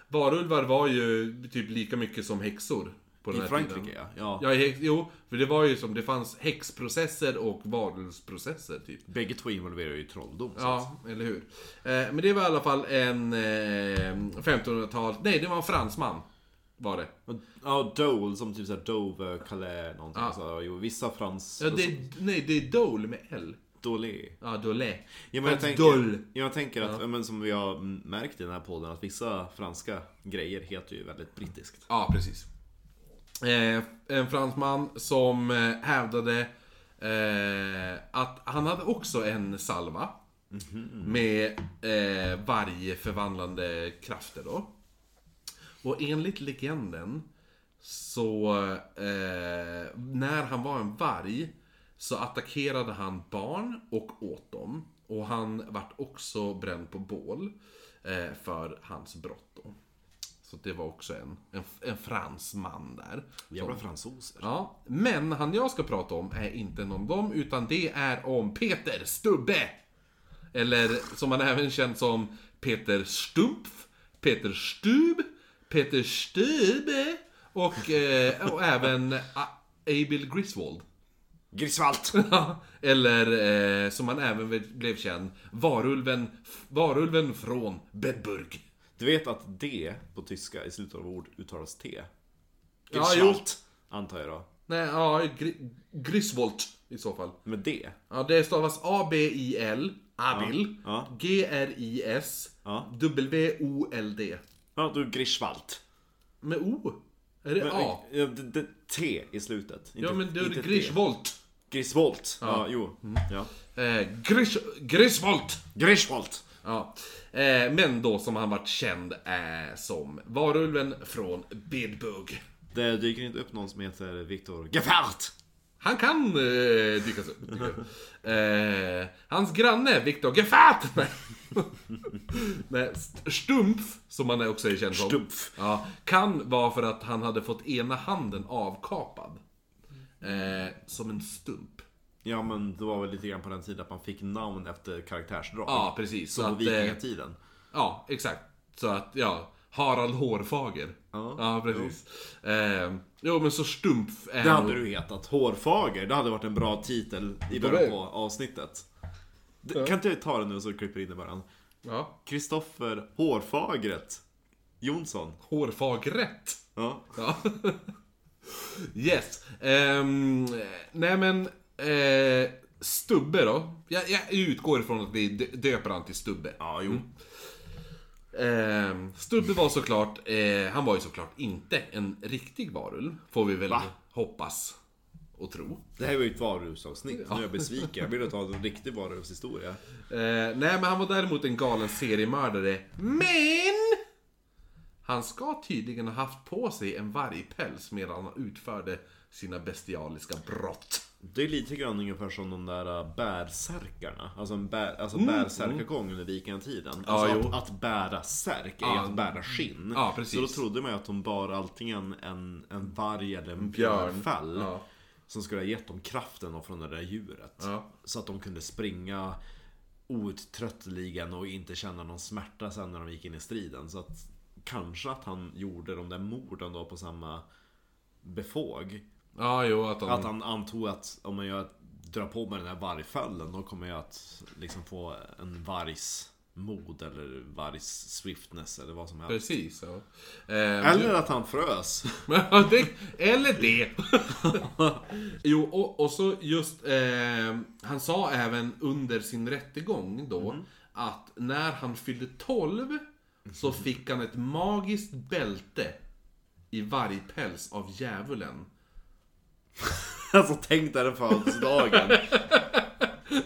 Speaker 2: Varulvar var ju typ lika mycket som häxor. På den
Speaker 1: I
Speaker 2: här
Speaker 1: Frankrike
Speaker 2: Tiden.
Speaker 1: ja. ja.
Speaker 2: Ja, i häx, jo, för det var ju som det fanns häxprocesser och varulvsprocesser typ.
Speaker 1: Bägge två involverar ju trolldom. så att-
Speaker 2: Ja, eller hur. Eh, men det var i alla fall en eh, 1500-tal... Nej, det var en fransman. Var det.
Speaker 1: Ja, Dole som typ såhär Dove, Calais, någonting
Speaker 2: Ja.
Speaker 1: så, jo, vissa frans... alltså,
Speaker 2: Ja, det, nej, det är Dole med L.
Speaker 1: Dole.
Speaker 2: Ja, Dole.
Speaker 1: Ja, men jag,
Speaker 2: Frans
Speaker 1: tänker,
Speaker 2: Dole.
Speaker 1: ja, jag tänker att, ja. men som vi har märkt i den här podden, att vissa franska grejer heter ju väldigt brittiskt.
Speaker 2: Ja, precis. Eh, en fransman som eh, hävdade eh, att han hade också en salva. Med eh, varje förvandlande krafter då. Och enligt legenden så eh, när han var en varg så attackerade han barn och åt dem. Och han vart också bränd på bål eh, för hans brott då. Så det var också en, en, en fransman där.
Speaker 1: Jävla fransoser.
Speaker 2: Ja, men han jag ska prata om är inte någon av dem, utan det är om Peter Stubbe! Eller som han även känd som Peter Stumpf, Peter Stub, Peter Stube och, eh, och även A- Abel Griswold.
Speaker 1: Grisvalt!
Speaker 2: Eller eh, som han även blev känd, Varulven, varulven från Bedburg.
Speaker 1: Du vet att D på tyska i slutet av ord uttalas T?
Speaker 2: Ja,
Speaker 1: Grisvalt, antar jag då.
Speaker 2: Nej, ja, Gri- Griswold i så fall.
Speaker 1: Med D?
Speaker 2: Ja, det stavas A-B-I-L, Abil,
Speaker 1: Ja,
Speaker 2: G-R-I-S,
Speaker 1: Ja.
Speaker 2: W-O-L-D.
Speaker 1: Ja, du Grisvalt.
Speaker 2: Med O? Är det A?
Speaker 1: Ja, det, det, T i slutet. Inte,
Speaker 2: Ja, men det är
Speaker 1: inte D.
Speaker 2: Grishvolt.
Speaker 1: Griswolt. Ja, jo. Ja.
Speaker 2: Eh, Grish, Grishvolt!
Speaker 1: Griswolt!
Speaker 2: Ja. Eh, men då som han vart känd eh, som varulven från Bedbug.
Speaker 1: Det dyker inte upp någon som heter Viktor Gefärt!
Speaker 2: Han kan eh, dykas upp. tycker jag. eh, hans granne, Viktor Gefat! Nej. Nej, St- Stumpf, som han också är känd som.
Speaker 1: Stumpf.
Speaker 2: Ja, kan vara för att han hade fått ena handen avkapad. Eh, som en stump.
Speaker 1: Ja men det var väl lite grann på den tiden att man fick namn efter karaktärsdrag.
Speaker 2: Ja, precis. Så
Speaker 1: På
Speaker 2: att, eh,
Speaker 1: vikingatiden.
Speaker 2: ja, exakt. Så att, ja. Harald Hårfager.
Speaker 1: Ja.
Speaker 2: precis. Eh, jo, men så stump är
Speaker 1: Det
Speaker 2: han.
Speaker 1: hade du hetat. Hårfager. Det hade varit en bra titel i början på avsnittet. Det- Kan inte jag ta den nu så klipper in i början?
Speaker 2: Ja,
Speaker 1: Kristoffer Hårfagret Jonsson.
Speaker 2: Hårfagrätt.
Speaker 1: Ja.
Speaker 2: Ja. yes. Ehm, nej men, eh, Stubbe då. Jag, jag utgår ifrån att vi dö- döper han till Stubbe. Mm.
Speaker 1: Ja, jo.
Speaker 2: Ehm, Stubbe var såklart, eh, han var ju såklart inte en riktig varulv. Får vi väl
Speaker 1: Va?
Speaker 2: hoppas och tro.
Speaker 1: Det här var ju ett varuhusavsnitt. Nu är jag besviken. Jag vill ta en riktig varuhushistoria.
Speaker 2: Eh, nej men han var däremot en galen seriemördare. Men! Han ska tydligen ha haft på sig en vargpäls medan han utförde sina bestialiska brott.
Speaker 1: Det är lite grann ungefär som de där äh, bärsärkarna. Alltså, en bär, alltså bärsärkagång under vikingatiden.
Speaker 2: Mm. Ja,
Speaker 1: Alltså
Speaker 2: jo.
Speaker 1: att, att bära särk är att bära skinn.
Speaker 2: Ja, precis.
Speaker 1: Så då trodde man ju att de bar antingen en, en varg eller en
Speaker 2: Björn.
Speaker 1: björnfäll.
Speaker 2: Ja.
Speaker 1: Som skulle ha gett dem kraften från det där djuret.
Speaker 2: Ja.
Speaker 1: Så att de kunde springa outtröttligen och inte känna någon smärta sen när de gick in i striden. Så att kanske att han gjorde de där morden då på samma befåg.
Speaker 2: Ja, jo, att han...
Speaker 1: Att han antog att om man gör, drar på med den här vargfällen då kommer jag att liksom få en vargs mod eller vargs swiftness eller vad som helst.
Speaker 2: Precis, ja. Eh,
Speaker 1: Eller att han frös.
Speaker 2: men- det, eller det! jo, och, och så just... Eh, han sa även under sin rättegång då att när han fyllde 12 så fick han ett magiskt bälte i vargpäls av djävulen.
Speaker 1: Alltså tänk dig den födelsedagen.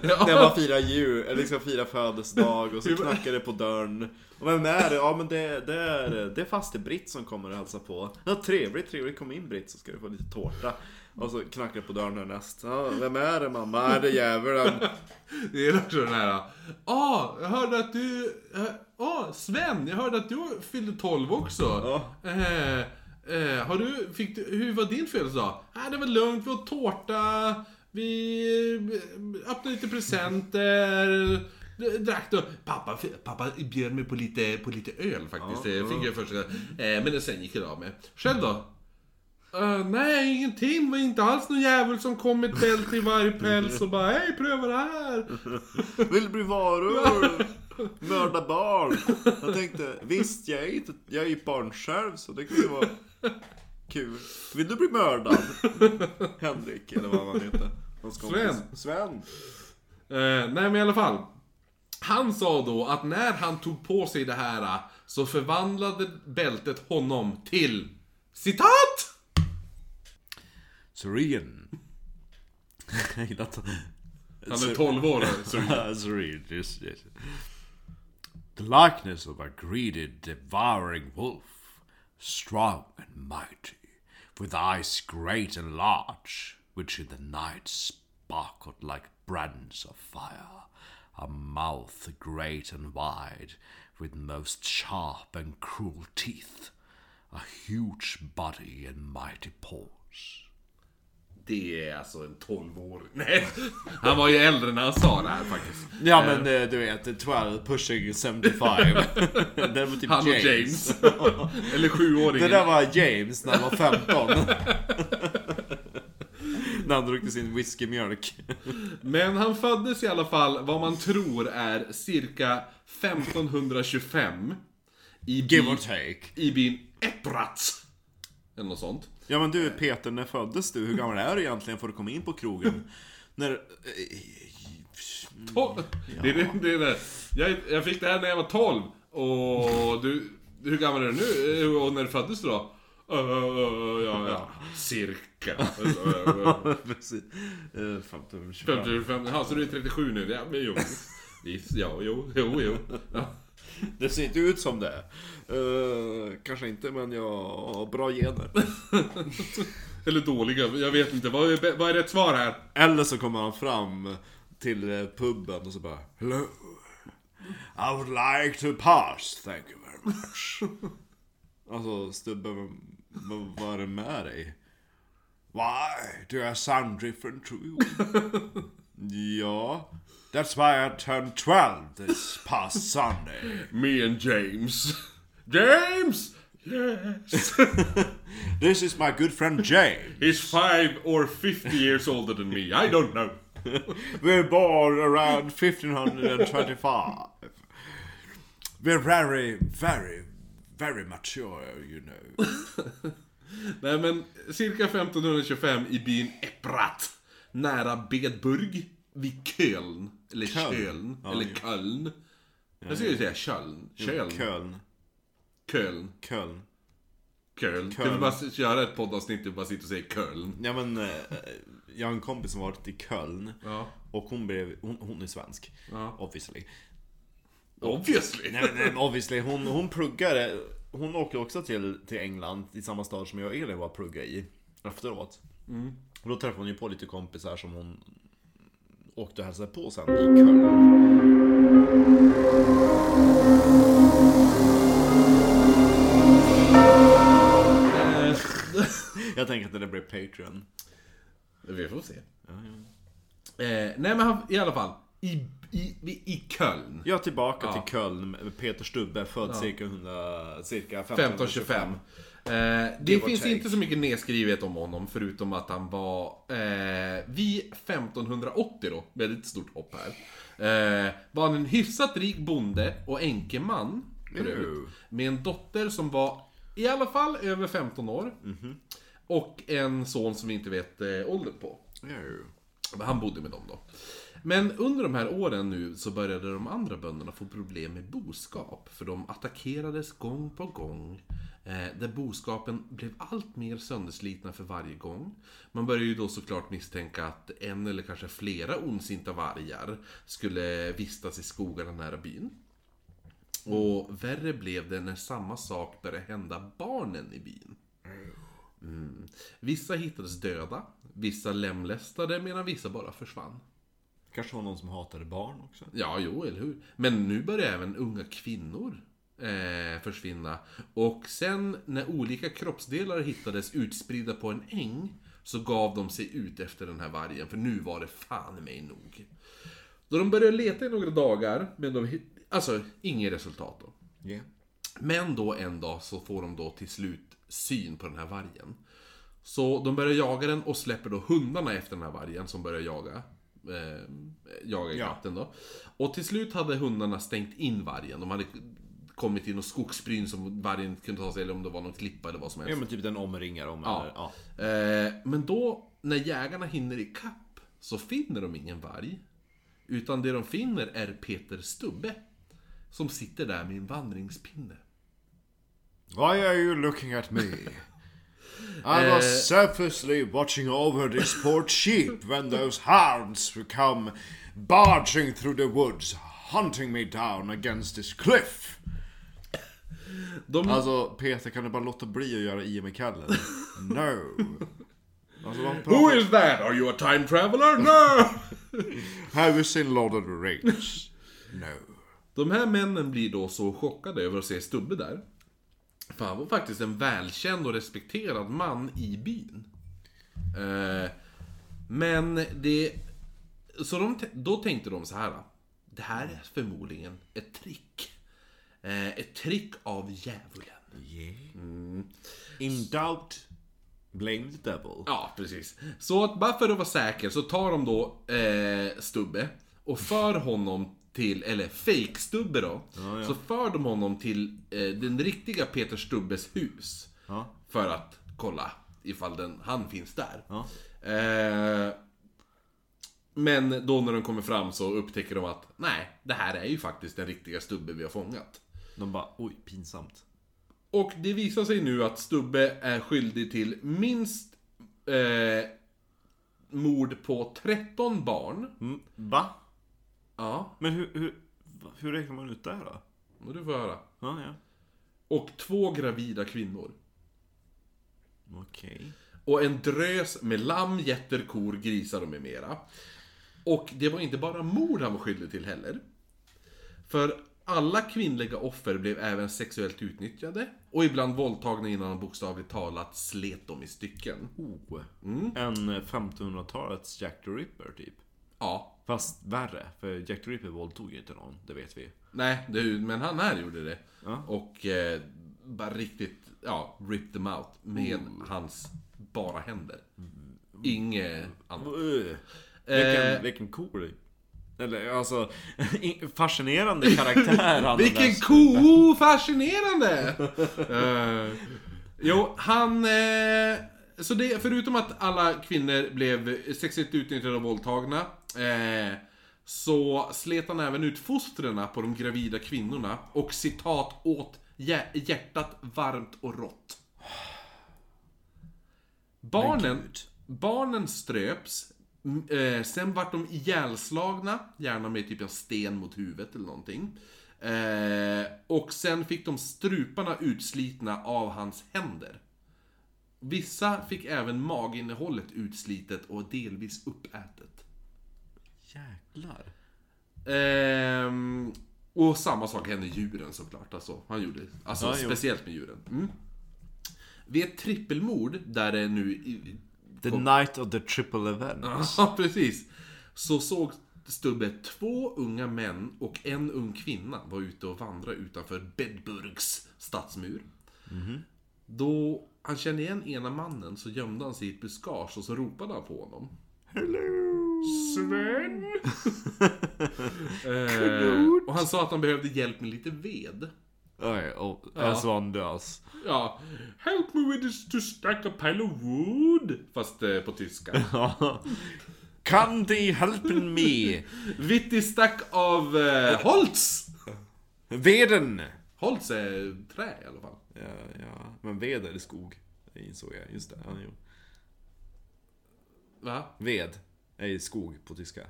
Speaker 1: När man firar jul, eller liksom firar födelsedag och så knackar det på dörren. Och vem är det? Ja men det, det är, det är faste Britt som kommer och hälsar på. Ja, trevligt, trevligt. Kom in Britt så ska du få lite tårta. Och så knackar det på dörren härnäst. Ja, vem är det mamma? Är det djävulen?
Speaker 2: Det är också den här... Ah, jag hörde att du... eh, Ah, Sven, jag hörde att du fyllde 12 också.
Speaker 1: Ja.
Speaker 2: Eh, eh, har du, fick du, hur var din födelsedag? Ah, det var lugnt, vi åt tårta, vi eh, öppnade lite presenter, d- drack då. Pappa, pappa bjöd mig på lite, på lite öl faktiskt,
Speaker 1: Ja,
Speaker 2: det fick jag först. Eh, men sen gick jag av med. Själv då? Eh, nej, ingenting. Det var inte alls någon jävel som kom med ett bälte i varje päls och bara Hej, pröva det här!
Speaker 1: Vill du bli varulv? Mörda barn? Jag tänkte, visst jag är inte, jag är ju barn själv så det kan ju vara kul. Vill du bli mördad? Henrik eller vad han heter. Hans kompis.
Speaker 2: Sven.
Speaker 1: Sven.
Speaker 2: Eh, nej men i alla fall. Han sa då att när han tog på sig det här eh, så förvandlade bältet honom till citat!
Speaker 1: Serene. Jag gillar att...
Speaker 2: Han är 12 år.
Speaker 1: Serene, just yes. The likeness of a greedy, devouring wolf, strong and mighty, with eyes great and large, which in the night sparkled like brands of fire, a mouth great and wide, with most sharp and cruel teeth, a huge body and mighty paws.
Speaker 2: Det är alltså en 12-åring. Nej, han var ju äldre när han sa det här faktiskt.
Speaker 1: Ja men eh, du vet, 12 pushing 75. det var typ
Speaker 2: Han och
Speaker 1: James.
Speaker 2: James. Eller
Speaker 1: Det
Speaker 2: 7-åringen.
Speaker 1: där var James när han var 15. när han druckit sin whiskymjölk.
Speaker 2: Men han föddes i alla fall, vad man tror är cirka 1525. I
Speaker 1: Give or
Speaker 2: byn,
Speaker 1: take.
Speaker 2: i byn Eppratz. Eller något sånt.
Speaker 1: Ja men du Peter, när föddes du? Hur gammal är du egentligen för att komma in på krogen? När... eh,
Speaker 2: Tolv. Det är det, det är det. Jag, jag fick det här när jag var 12 och du, hur gammal är du nu? Eh, Och när du föddes du då? Eh, eh, ja, ja, cirka. Eh,
Speaker 1: Precis. Eh, 15, 25.
Speaker 2: 55, ja, så du är 37 nu? Ja, men jo. Visst, ja, jo, jo, jo. Ja.
Speaker 1: Det ser inte ut som det. Eh, kanske inte men jag har bra gener.
Speaker 2: Eller dåliga, jag vet inte. Vad är, bä- vad är rätt svar här?
Speaker 1: Eller så kommer han fram till eh, puben och så bara Hello I would like to pass, thank you very much Alltså Stubbe, vad- vad- vad är det med dig? Why do I sound different to you? ja, that's why I turned 12 this past Sunday
Speaker 2: Me and James. James! Yes!
Speaker 1: This is my good friend James.
Speaker 2: He's five or 50 years older than me. I don't know.
Speaker 1: We're born around 1525. We're very, very, very mature, you know.
Speaker 2: Nej men, cirka 1525 i byn Epprat. Nära Bedburg. Vid Köln. Eller
Speaker 1: Köln.
Speaker 2: Köln.
Speaker 1: Ja,
Speaker 2: eller
Speaker 1: jo.
Speaker 2: Köln. Jag skulle ju säga Köln. Köln. Köln.
Speaker 1: Köln.
Speaker 2: Köln.
Speaker 1: Köln.
Speaker 2: Köln. Kan vi bara göra ett poddavsnitt där vi bara sitter och säger Köln?
Speaker 1: Ja, men, eh, jag har en kompis som varit i Köln.
Speaker 2: Ja.
Speaker 1: Och hon blev, hon, hon är svensk. Obviously.
Speaker 2: Obviously.
Speaker 1: Nej, nej men eh, obviously. Hon, hon pluggade. Hon åkte också till, till England, i samma stad som jag och Elin var och pluggade i. Efteråt. Och då träffade hon ju på lite kompisar som hon åkte och hälsade på sen i Köln.
Speaker 2: Eh,
Speaker 1: Jag tänker att det blev Patreon.
Speaker 2: Vi får se. Eh, nej men han, i alla fall. I, i, i, i Köln.
Speaker 1: Jag är tillbaka till Köln. med Peter Stubbe, född cirka, 100, cirka
Speaker 2: 1525.
Speaker 1: 1525.
Speaker 2: Eh, det
Speaker 1: or
Speaker 2: finns
Speaker 1: take.
Speaker 2: inte så mycket nedskrivet om honom förutom att han var eh, vid 1580 då, väldigt stort hopp här. Eh, var han en hyfsat rik bonde och enkeman. för
Speaker 1: Ew.
Speaker 2: övrigt, Med en dotter som var i alla fall över 15 år. Och en son som vi inte vet eh, åldern på.
Speaker 1: Jo.
Speaker 2: Men Han bodde med dem då. Men under de här åren nu så började de andra bönderna få problem med boskap. För de attackerades gång på gång. Eh, där boskapen blev allt mer sönderslitna för varje gång. Man började ju då såklart misstänka att en eller kanske flera ondsinta vargar skulle vistas i skogarna nära byn. Och värre blev det när samma sak började hända barnen i byn. Mm. Vissa hittades döda, vissa lemlästade medan vissa bara försvann.
Speaker 1: Kanske var någon som hatade barn också.
Speaker 2: Ja, jo, eller hur? Men nu börjar även unga kvinnor eh, försvinna. Och sen när olika kroppsdelar hittades utspridda på en äng så gav de sig ut efter den här vargen, för nu var det fan i mig nog. Då de började leta i några dagar, men de hitt- Alltså, inget resultat då.
Speaker 1: Yeah.
Speaker 2: Men då en dag så får de då till slut syn på den här vargen. Så de börjar jaga den och släpper då hundarna efter den här vargen som börjar jaga. Eh, jaga
Speaker 1: Ja.
Speaker 2: katten då. Och till slut hade hundarna stängt in vargen. De hade kommit i något skogsbryn som vargen inte kunde ta sig eller om det var någon klippa eller vad som helst.
Speaker 1: Ja men typ den omringar om
Speaker 2: Ja.
Speaker 1: eller, ja.
Speaker 2: Eh, men då, när jägarna hinner ikapp, så finner de ingen varg. Utan det de finner är Peter Stubbe. Som sitter där med en vandringspinne.
Speaker 1: Why are you looking at me? I was selflessly watching over this poor sheep when those hounds would come barging through the woods, hunting me down against this cliff.
Speaker 2: De
Speaker 1: Alltså Peter, kan du bara låta bli att göra i med Kalle? No. Alltså, vad
Speaker 2: Who
Speaker 1: pratar...
Speaker 2: is that? Are you a time traveler? No!
Speaker 1: Have you seen Lord of the Rings? No.
Speaker 2: De här männen blir då så chockade över att se Stubbe där. För han var faktiskt en välkänd och respekterad man i byn. Eh, men det... Så de, t- då tänkte de så här. då. Det här är förmodligen ett trick. Eh, ett trick av djävulen.
Speaker 1: Mm. In doubt, blame the devil.
Speaker 2: Ja, precis. Så att bara för att vara säker så tar de då eh, Stubbe och för honom till, eller fake-Stubbe då.
Speaker 1: Ja, ja.
Speaker 2: Så för de honom till eh, den riktiga Peter Stubbes hus.
Speaker 1: Ja.
Speaker 2: För att kolla ifall den, han finns där.
Speaker 1: Ja.
Speaker 2: Eh, men då när de kommer fram så upptäcker de att nej, det här är ju faktiskt den riktiga Stubbe vi har fångat.
Speaker 1: De bara, oj, pinsamt.
Speaker 2: Och det visar sig nu att Stubbe är skyldig till minst eh, mord på 13 barn.
Speaker 1: Mm, va?
Speaker 2: Ja,
Speaker 1: Men hur, hur, hur räknar man ut det här då?
Speaker 2: och du får höra.
Speaker 1: Ja, ja.
Speaker 2: Och två gravida kvinnor.
Speaker 1: Okej.
Speaker 2: Och en drös med lamm, getter, kor, grisar och med mera. Och det var inte bara mord han var skyldig till heller. För alla kvinnliga offer blev även sexuellt utnyttjade och ibland våldtagna innan de bokstavligt talat slet dem i stycken.
Speaker 1: Mm. eh, Oh. En 1500-talets Jack the Ripper typ.
Speaker 2: Ja.
Speaker 1: Fast värre, för Jack the Ripper våldtog ju inte någon, det vet vi.
Speaker 2: Nej, det, är ju- men han här gjorde det.
Speaker 1: Ja.
Speaker 2: Och eh, bara riktigt, ja, ripped them out med hans bara händer. Inget annat.
Speaker 1: Uh,
Speaker 2: Eh.
Speaker 1: vilken, vilken cool... Eller alltså, in- fascinerande karaktär han
Speaker 2: Vilken
Speaker 1: den där-
Speaker 2: ko! Fascinerande! Eh, jo, han... eh, så det, förutom att alla kvinnor blev sexigt utnyttjade och våldtagna eh, så slet han även ut fostrena på de gravida kvinnorna och citat åt hjär- hjärtat varmt och rått. Barnen, barnen ströps, m- eh, sen vart de ihjälslagna, gärna med typ en sten mot huvudet eller någonting. Eh, och sen fick de struparna utslitna av hans händer. Vissa fick även maginnehållet utslitet och delvis uppätet.
Speaker 1: Jäklar.
Speaker 2: Ehm, och samma sak hände djuren såklart. Alltså, han gjorde, alltså
Speaker 1: Ja, jo.
Speaker 2: speciellt med djuren. Mm. Vid ett trippelmord, där det nu i-
Speaker 1: The night of the triple event.
Speaker 2: Ja, precis. Så såg Stubbe två unga män och en ung kvinna var ute och vandra utanför Bedburgs stadsmur. Då han kände igen ena mannen så gömde han sig i ett buskage och så ropade han på honom. Sven! eh, och han sa att han behövde hjälp med lite ved.
Speaker 1: Oj, och en sån dös.
Speaker 2: Ja, help me with this to stack a pile of wood. Fast eh, på tyska.
Speaker 1: Kan de helpen me?
Speaker 2: Vitti stack av eh, Holtz!
Speaker 1: Veden!
Speaker 2: Holtz är trä i alla fall.
Speaker 1: Ja, ja. Men ved är det skog. Det insåg jag. Just det. Ja, jo.
Speaker 2: Va?
Speaker 1: Ved är ju skog på tyska.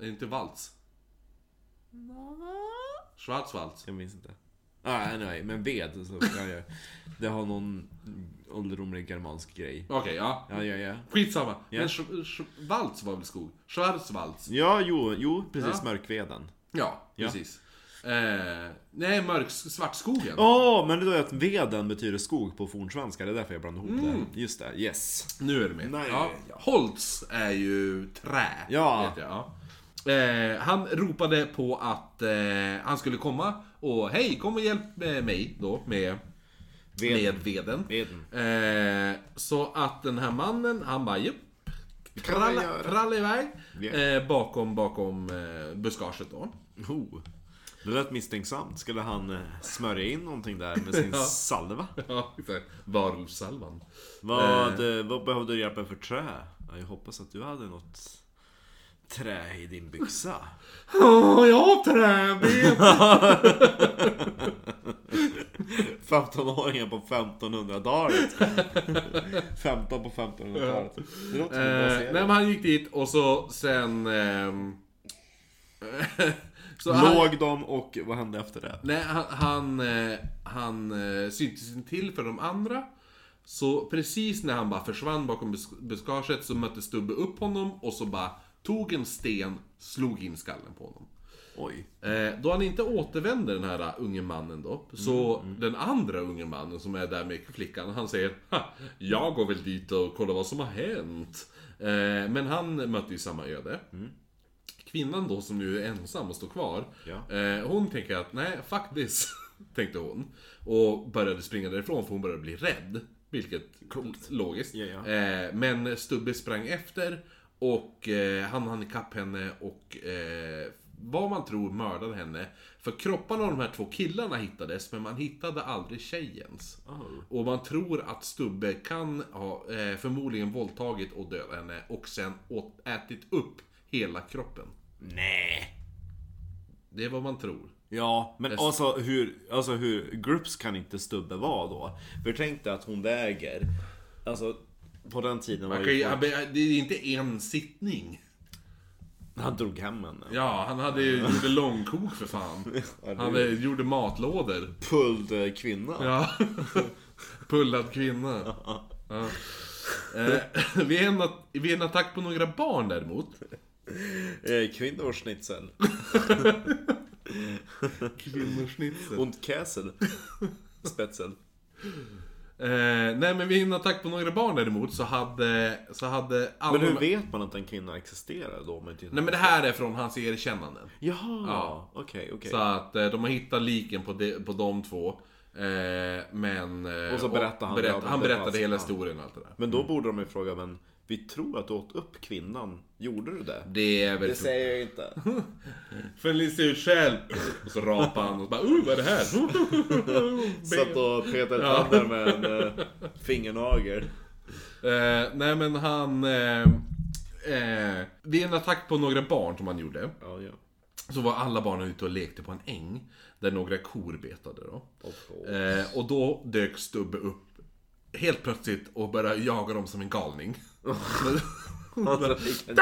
Speaker 2: Är inte Waltz? Schwarzwaltz?
Speaker 1: Jag minns inte. Ah, anyway, men ved. Så kan jag, det har någon ålderdomlig germansk grej.
Speaker 2: Okej, ja.
Speaker 1: Ja, ja, ja.
Speaker 2: Skitsamma.
Speaker 1: Ja.
Speaker 2: Men Sch- Sch- Waltz var väl skog? Schwarzwaltz?
Speaker 1: Ja, jo, jo precis.
Speaker 2: Ja.
Speaker 1: Mörkveden.
Speaker 2: Ja,
Speaker 1: Ja.
Speaker 2: precis. Eh, nej, mörk svartskogen.
Speaker 1: Åh, men det är att veden betyder skog på fornsvenska. Det är därför jag blandade ihop
Speaker 2: Mm.
Speaker 1: det. Just det, yes.
Speaker 2: Nu är du med.
Speaker 1: Nej.
Speaker 2: Ja. Holtz är ju trä.
Speaker 1: Ja.
Speaker 2: Vet jag. ja. Eh, han ropade på att eh, han skulle komma och hej, kom och hjälp eh, mig då med,
Speaker 1: Veden.
Speaker 2: med veden.
Speaker 1: Veden.
Speaker 2: Eh, så att den här mannen, han bara jupp.
Speaker 1: kan man
Speaker 2: Tralla,
Speaker 1: göra.
Speaker 2: tralla iväg.
Speaker 1: Ja.
Speaker 2: Eh, bakom, bakom eh, buskaget då.
Speaker 1: Oh. Det lät misstänksamt. Skulle han eh, smörja in någonting där med sin
Speaker 2: Ja.
Speaker 1: salva?
Speaker 2: Ja, exakt. Varulvssalvan.
Speaker 1: Vad, eh. vad behövde du hjälp med för trä? Ja, Jag hoppas att du hade något trä i din byxa.
Speaker 2: Åh, jag har träben!
Speaker 1: 15-åringar på 1500-talet. 15 på 1500-talet. Det låter som en bra
Speaker 2: eh, nej,
Speaker 1: serie.
Speaker 2: men han gick dit och så sen... ehm, så han,
Speaker 1: Låg de och vad hände efter det?
Speaker 2: nej, han, han, eh, han eh, syntes inte till för de andra. Så precis när han bara försvann bakom busk- buskaget så mötte Stubbe upp honom och så bara tog en sten, slog in skallen på honom.
Speaker 1: Oj.
Speaker 2: Eh, Då han inte återvänder den här unge mannen då, så den andra unge mannen som är där med flickan, han säger "Ha, Jag går väl dit och kollar vad som har hänt. Eh, Men han mötte ju samma öde. Kvinnan då som nu är ensam och står kvar,
Speaker 1: Ja.
Speaker 2: eh, hon tänker att nej, fuck this, tänkte hon. Och började springa därifrån för hon började bli rädd. Vilket logiskt.
Speaker 1: Ja, ja.
Speaker 2: Eh, Men Stubbe sprang efter och eh, han hann ikapp henne och eh, vad man tror mördade henne. För kropparna av de här två killarna hittades men man hittade aldrig tjejens. Och man tror att Stubbe kan ha eh, förmodligen våldtagit och dödat henne och sen åt, ätit upp hela kroppen.
Speaker 1: Nej.
Speaker 2: Det är vad man tror.
Speaker 1: Ja, men alltså hur, alltså hur groups kan inte Stubbe vara då? För tänk dig att hon väger, alltså på den tiden var
Speaker 2: Okej,
Speaker 1: ju
Speaker 2: han
Speaker 1: folk,
Speaker 2: be- Det är inte en sittning.
Speaker 1: han drog hem henne.
Speaker 2: Ja, han hade ju gjorde långkok för fan. Han eh, gjorde matlådor.
Speaker 1: Pulled eh, kvinna.
Speaker 2: Ja. Pullad kvinna. Ja. Eh, vid, en, att- vid en attack på några barn däremot.
Speaker 1: Eh, Kvinnoschnitzel.
Speaker 2: Kvinnorsnitzel.
Speaker 1: Und Käsel. Spetzel.
Speaker 2: Eh, nej men vid en attack på några barn däremot så hade, så hade alla...
Speaker 1: Men hur vet man att en kvinna existerar då? Om man inte...
Speaker 2: Nej men det här är från hans erkännanden.
Speaker 1: Jaha,
Speaker 2: Ja.
Speaker 1: okej, okej.
Speaker 2: Så att eh, de har hittat liken på, de, på de två. Eh, men... eh,
Speaker 1: Och så berättar han det,
Speaker 2: berätt,
Speaker 1: ja,
Speaker 2: Han
Speaker 1: det
Speaker 2: berättade
Speaker 1: fanns-
Speaker 2: hela
Speaker 1: ja.
Speaker 2: historien och allt det där.
Speaker 1: Men då borde de ju fråga, men vi tror att du åt upp kvinnan. Gjorde du det?
Speaker 2: Det är väl...
Speaker 1: säger jag inte.
Speaker 2: Felicia ut själv! Och så rapar han och så bara uh, vad är det här?
Speaker 1: Satt och petade
Speaker 2: Ja.
Speaker 1: tänder med en eh, fingernagel.
Speaker 2: Eh, nej men han... Eh, eh, vid en attack på några barn som han gjorde.
Speaker 1: Ja, ja.
Speaker 2: Så var alla barnen ute och lekte på en äng. Där några kor betade då.
Speaker 1: Och så.
Speaker 2: Eh, och då dök Stubbe upp helt plötsligt och började jaga dem som en galning.
Speaker 1: Alltså, vilken-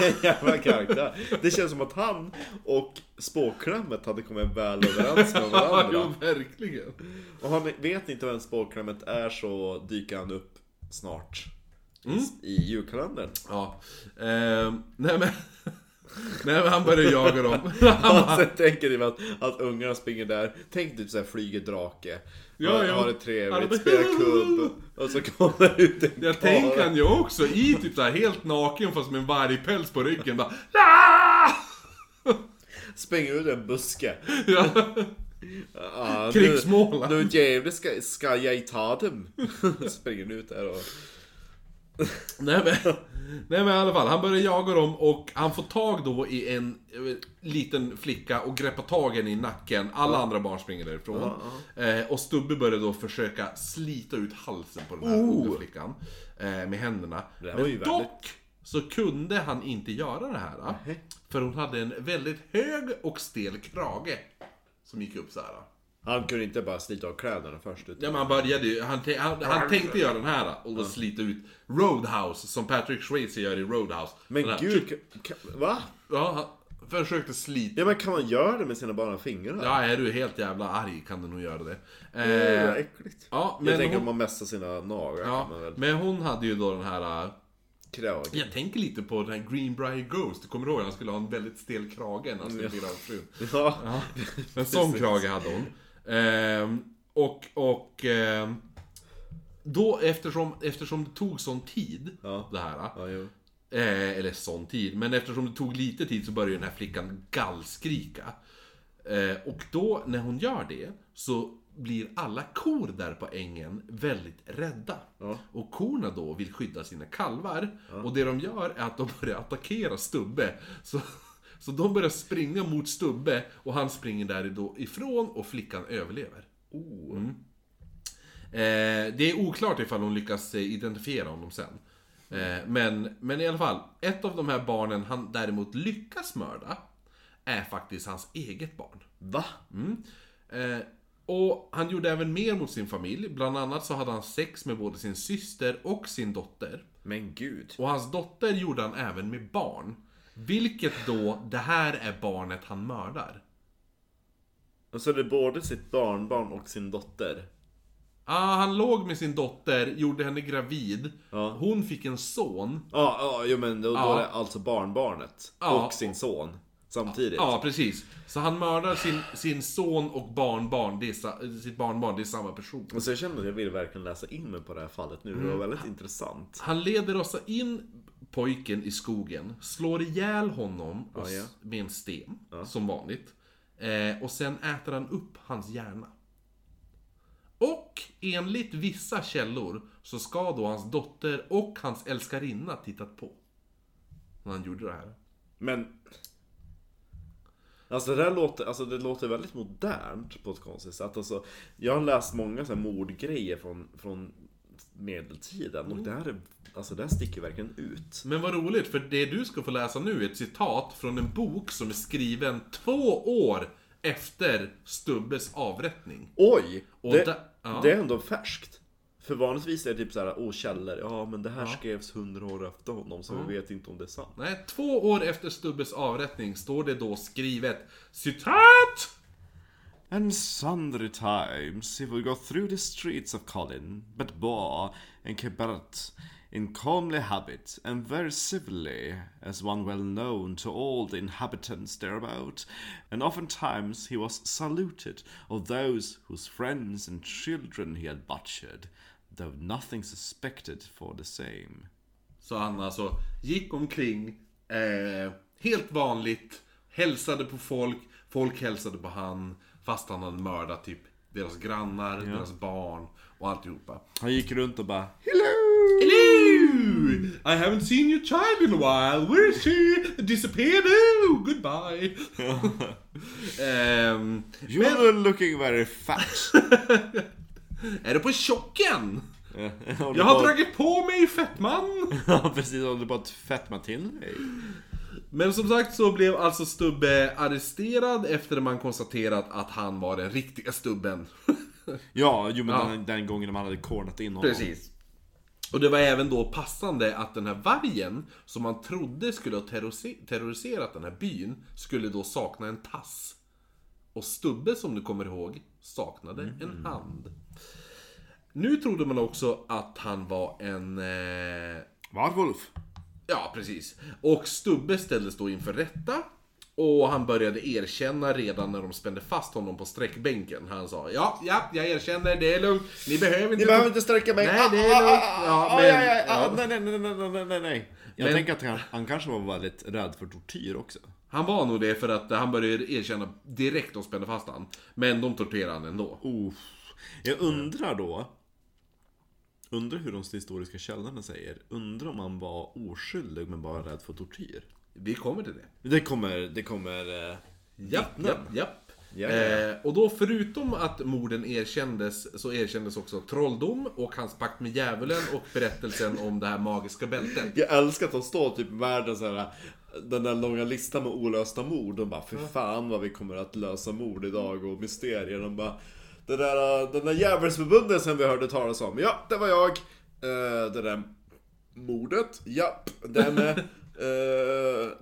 Speaker 1: vilken jävla karaktär. Det känns som att han och spåklämmet hade kommit väl överens med
Speaker 2: Ja,
Speaker 1: varandra.
Speaker 2: jo, verkligen.
Speaker 1: Och han vet inte vem spåklämmet är så dyker han upp snart. I-
Speaker 2: Mm.
Speaker 1: I julkalendern.
Speaker 2: Ja. Eh, nej men... Nej men han började jaga dem.
Speaker 1: Och sen tänker ni att, att ungarna springer där. Tänk typ såhär, flyger drake.
Speaker 2: Ja,
Speaker 1: har,
Speaker 2: ja.
Speaker 1: har det
Speaker 2: Ja,
Speaker 1: trevligt,
Speaker 2: men-
Speaker 1: spelar kubb. Och så kommer ut en
Speaker 2: Jag
Speaker 1: karl.
Speaker 2: tänker han ju också i typ såhär helt naken fast med en vargpäls på ryggen bara "Ah!"
Speaker 1: Springer ut ur en buske.
Speaker 2: ja,
Speaker 1: Ah, nu-
Speaker 2: Krigsmåla.
Speaker 1: Nu jävlar ska, ska jag ta dem. Springer ut där och...
Speaker 2: Nej men, nej men i alla fall, han börjar jaga dem och han får tag då i en eh, liten flicka och greppar tag i henne i nacken. Alla andra barn springer därifrån. Eh, och Stubbe börjar då försöka slita ut halsen på den här
Speaker 1: Oh!
Speaker 2: unga flickan. Eh, med händerna.
Speaker 1: Det här
Speaker 2: Men
Speaker 1: var ju väldigt-
Speaker 2: dock så kunde han inte göra det här. eh. För hon hade en väldigt hög och stel krage. Som gick upp så här.
Speaker 1: Han kunde inte bara slita av kläderna först. Utan...
Speaker 2: Ja, men han började ju, han, tän- han, han tänkte göra den här och då slita ut Roadhouse som Patrick Swayze gör i Roadhouse.
Speaker 1: Men
Speaker 2: Den här,
Speaker 1: gud, kan, kan, va?
Speaker 2: Ja, han försökte slita.
Speaker 1: Ja men kan man göra det med sina bara fingrar?
Speaker 2: Ja, är du helt jävla arg kan du nog göra det.
Speaker 1: Det är
Speaker 2: Eh,
Speaker 1: äckligt.
Speaker 2: ja,
Speaker 1: jag
Speaker 2: men
Speaker 1: tänker om
Speaker 2: hon,
Speaker 1: man mässar sina naglar kan man
Speaker 2: ja,
Speaker 1: väl
Speaker 2: men hon hade ju då den här... eh,
Speaker 1: krage.
Speaker 2: Jag tänker lite på den här Greenbrier Ghost. Du kommer ihåg? Han skulle ha en väldigt stel krage när han skulle bli avfrun.
Speaker 1: Ja.
Speaker 2: En sån krage hade hon. Ehm, och, och... ehm, då eftersom, eftersom det tog sån tid,
Speaker 1: Ja.
Speaker 2: det här.
Speaker 1: Ja, jo.
Speaker 2: Eh, eller sån tid. Men eftersom det tog lite tid så började den här flickan gallskrika. Eh, och då, när hon gör det, så blir alla kor där på ängen väldigt rädda.
Speaker 1: Ja.
Speaker 2: Och korna då vill skydda sina kalvar. Och det de gör är att de börjar attackera Stubbe. Så, så de börjar springa mot Stubbe och han springer därifrån och flickan överlever.
Speaker 1: Oh.
Speaker 2: Eh, det är oklart ifall hon lyckas eh, identifiera honom sen. Eh, men, men i alla fall, ett av de här barnen han däremot lyckas mörda är faktiskt hans eget barn.
Speaker 1: Va?
Speaker 2: Eh, och han gjorde även mer mot sin familj. Bland annat så hade han sex med både sin syster och sin dotter.
Speaker 1: Men gud.
Speaker 2: Och hans dotter gjorde han även med barn. Vilket då, det här är barnet han mördar.
Speaker 1: Alltså det är både sitt barnbarn och sin dotter.
Speaker 2: Ah, han låg med sin dotter, gjorde henne gravid.
Speaker 1: Ja.
Speaker 2: Hon fick en son.
Speaker 1: Ja, ja jo, men då, då
Speaker 2: Ja.
Speaker 1: är det alltså barnbarnet
Speaker 2: Ja.
Speaker 1: och sin son samtidigt.
Speaker 2: Ja, precis. Så han mördar sin, sin son och barnbarn, det är, sa- sitt barnbarn, det är samma person.
Speaker 1: Och så jag känner att jag vill verkligen läsa in mig på det här fallet nu. Det
Speaker 2: Mm.
Speaker 1: var väldigt intressant.
Speaker 2: Han leder oss in pojken i skogen, slår ihjäl honom och, s-
Speaker 1: ja.
Speaker 2: med en sten, som vanligt. Eh, och sen äter han upp hans hjärna. Och enligt vissa källor så ska då hans dotter och hans älskarinna tittat på. När han gjorde det här.
Speaker 1: Men... Alltså det där låter, alltså det låter väldigt modernt på ett konstigt sätt. Alltså, jag har läst många så här mordgrejer från, från medeltiden och det här, är, alltså det här sticker verkligen ut.
Speaker 2: Men vad roligt, för det du ska få läsa nu är ett citat från en bok som är skriven två år efter Stubbes avrättning.
Speaker 1: Oj!
Speaker 2: Och
Speaker 1: det,
Speaker 2: där- ja.
Speaker 1: det är ändå färskt. För vanligtvis är det typ så här, åh källor, ja men det här skrevs hundra år efter honom så vi vet inte om det är sant.
Speaker 2: Nej, två år efter Stubbes avrättning står det då skrivet citat!
Speaker 1: And sundry times he would go through the streets of Colin, but Boar and Quebec, in comely habit, and very civilly, as one well known to all the inhabitants thereabout, and oftentimes he was saluted of those whose friends and children he had butchered, though nothing suspected for the same.
Speaker 2: Så han alltså gick omkring eh, helt vanligt, hälsade på folk, folk hälsade på han, fast han hade mördat typ deras grannar, deras barn och alltihopa.
Speaker 1: Han gick runt och bara Hello!
Speaker 2: Hello! I haven't seen your child in a while. Where is she? Disappeared? Oh, goodbye. Ehm,
Speaker 1: You were looking very fat.
Speaker 2: är du på chocken?
Speaker 1: Håller
Speaker 2: Jag har
Speaker 1: på-
Speaker 2: dragit på mig fettman.
Speaker 1: Ja precis, håller på att fetma till mig.
Speaker 2: Men som sagt så blev alltså Stubbe arresterad efter man konstaterat att han var den riktiga Stubben.
Speaker 1: Ja, jo men Den, den gången när man hade cornat in honom.
Speaker 2: Precis. Och det var även då passande att den här vargen, som man trodde skulle ha terrorisi- terroriserat den här byn, skulle då sakna en tass. Och Stubbe, som du kommer ihåg, saknade
Speaker 1: Mm.
Speaker 2: en hand. Nu trodde man också att han var en... Eh,
Speaker 1: Varulv.
Speaker 2: Ja, precis. Och Stubbe ställdes då inför rätta. Och han började erkänna redan när de spände fast honom på sträckbänken. Han sa ja, ja, jag erkänner, det är lugnt. Ni behöver inte...
Speaker 1: Ni behöver inte sträcka mig. Ah,
Speaker 2: Nej, det är lugnt. Ja, men,
Speaker 1: aj, aj, aj,
Speaker 2: ja.
Speaker 1: Ah, Nej, nej, nej, nej, nej, nej, nej. Jag
Speaker 2: Men-
Speaker 1: tänker att han, han kanske var väldigt rädd för tortyr också.
Speaker 2: Han var nog det för att han började erkänna direkt de spände fast han. Men de torterade han ändå.
Speaker 1: Uff. Jag undrar då. Undrar hur de historiska källorna säger. Undrar om han var oskyldig men bara rädd för tortyr.
Speaker 2: Vi kommer till det.
Speaker 1: Det kommer, det kommer... eh,
Speaker 2: Japp, japp, japp.
Speaker 1: Ja, ja, ja.
Speaker 2: Eh, och då förutom att morden erkändes så erkändes också trolldom och hans pakt med djävulen och berättelsen om det här magiska bältet.
Speaker 1: Jag älskar att de står typ i världen så här. Den där långa listan med olösta mord. De bara, för fan vad vi kommer att lösa mord idag och mysterier. De bara, den där, den där djävulsförbundelsen vi hörde talas om. Ja, det var jag. Eh, det där mordet. Ja, den... eh,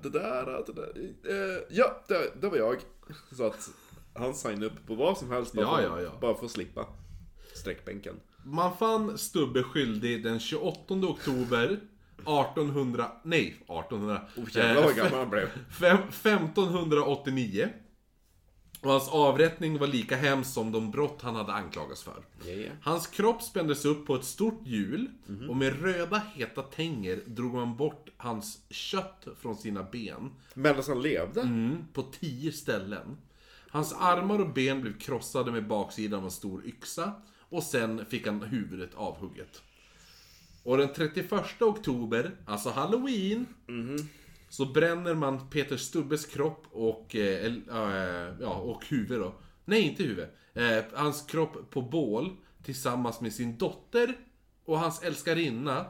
Speaker 1: det där, det där. eh, ja, det, det var jag. Så att han signade upp på vad som helst. Bara,
Speaker 2: Ja,
Speaker 1: för,
Speaker 2: ja, ja.
Speaker 1: bara för att slippa sträckbänken.
Speaker 2: Man fann Stubbe skyldig den 28 oktober 1800, nej 1800,
Speaker 1: Oh, jävlar vad
Speaker 2: eh,
Speaker 1: gammal han blev.
Speaker 2: fem, 1589. Och hans avrättning var lika hemsk som de brott han hade anklagats för.
Speaker 1: Ja, ja.
Speaker 2: Hans kropp spändes upp på ett stort hjul och med röda heta tänger drog man bort hans kött från sina ben
Speaker 1: Medan alltså, han levde.
Speaker 2: mm, på tio ställen. Hans armar och ben blev krossade med baksidan av en stor yxa och sen fick han huvudet avhugget. Och den 31 oktober, alltså halloween, så bränner man Peter Stubbes kropp och, eh, el- eh, ja, och huvud då. Nej, inte huvud. Eh, hans kropp på bål tillsammans med sin dotter och hans älskarinna,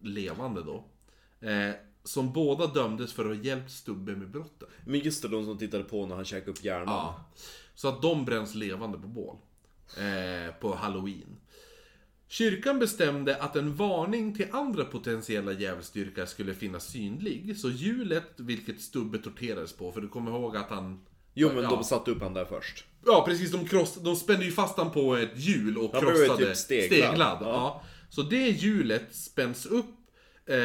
Speaker 2: levande då, eh, som båda dömdes för att ha hjälpt Stubbe med brottet.
Speaker 1: Men just det, de som tittade på när han käkade upp hjärnan.
Speaker 2: Ja. Så att de bränns levande på bål. Eh, på halloween. Kyrkan bestämde att en varning till andra potentiella djävulsdyrkare skulle finnas synlig. Så hjulet, vilket Stubbe torterades på, för du kommer ihåg att han...
Speaker 1: Jo men
Speaker 2: ja.
Speaker 1: de satte upp han där först.
Speaker 2: Ja, precis. De, kross, de spände ju fast han på ett hjul och
Speaker 1: Han blev ju
Speaker 2: krossade...
Speaker 1: typ steglad.
Speaker 2: Ja. Så det hjulet spänns upp eh,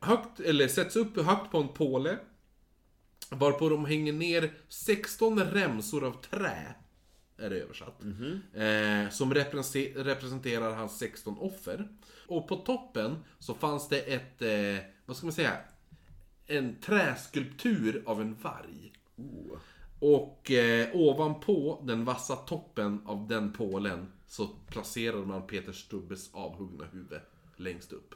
Speaker 2: högt, eller sätts upp högt på en påle. Varpå de hänger ner 16 remsor av trä. Är det översatt.
Speaker 1: Mhm.
Speaker 2: Eh, som represe- representerar hans 16 offer. Och på toppen så fanns det ett, eh, vad ska man säga? En träskulptur av en varg. Och eh, ovanpå den vassa toppen av den pålen så placerade man Peter Stubbes avhuggna huvud längst upp.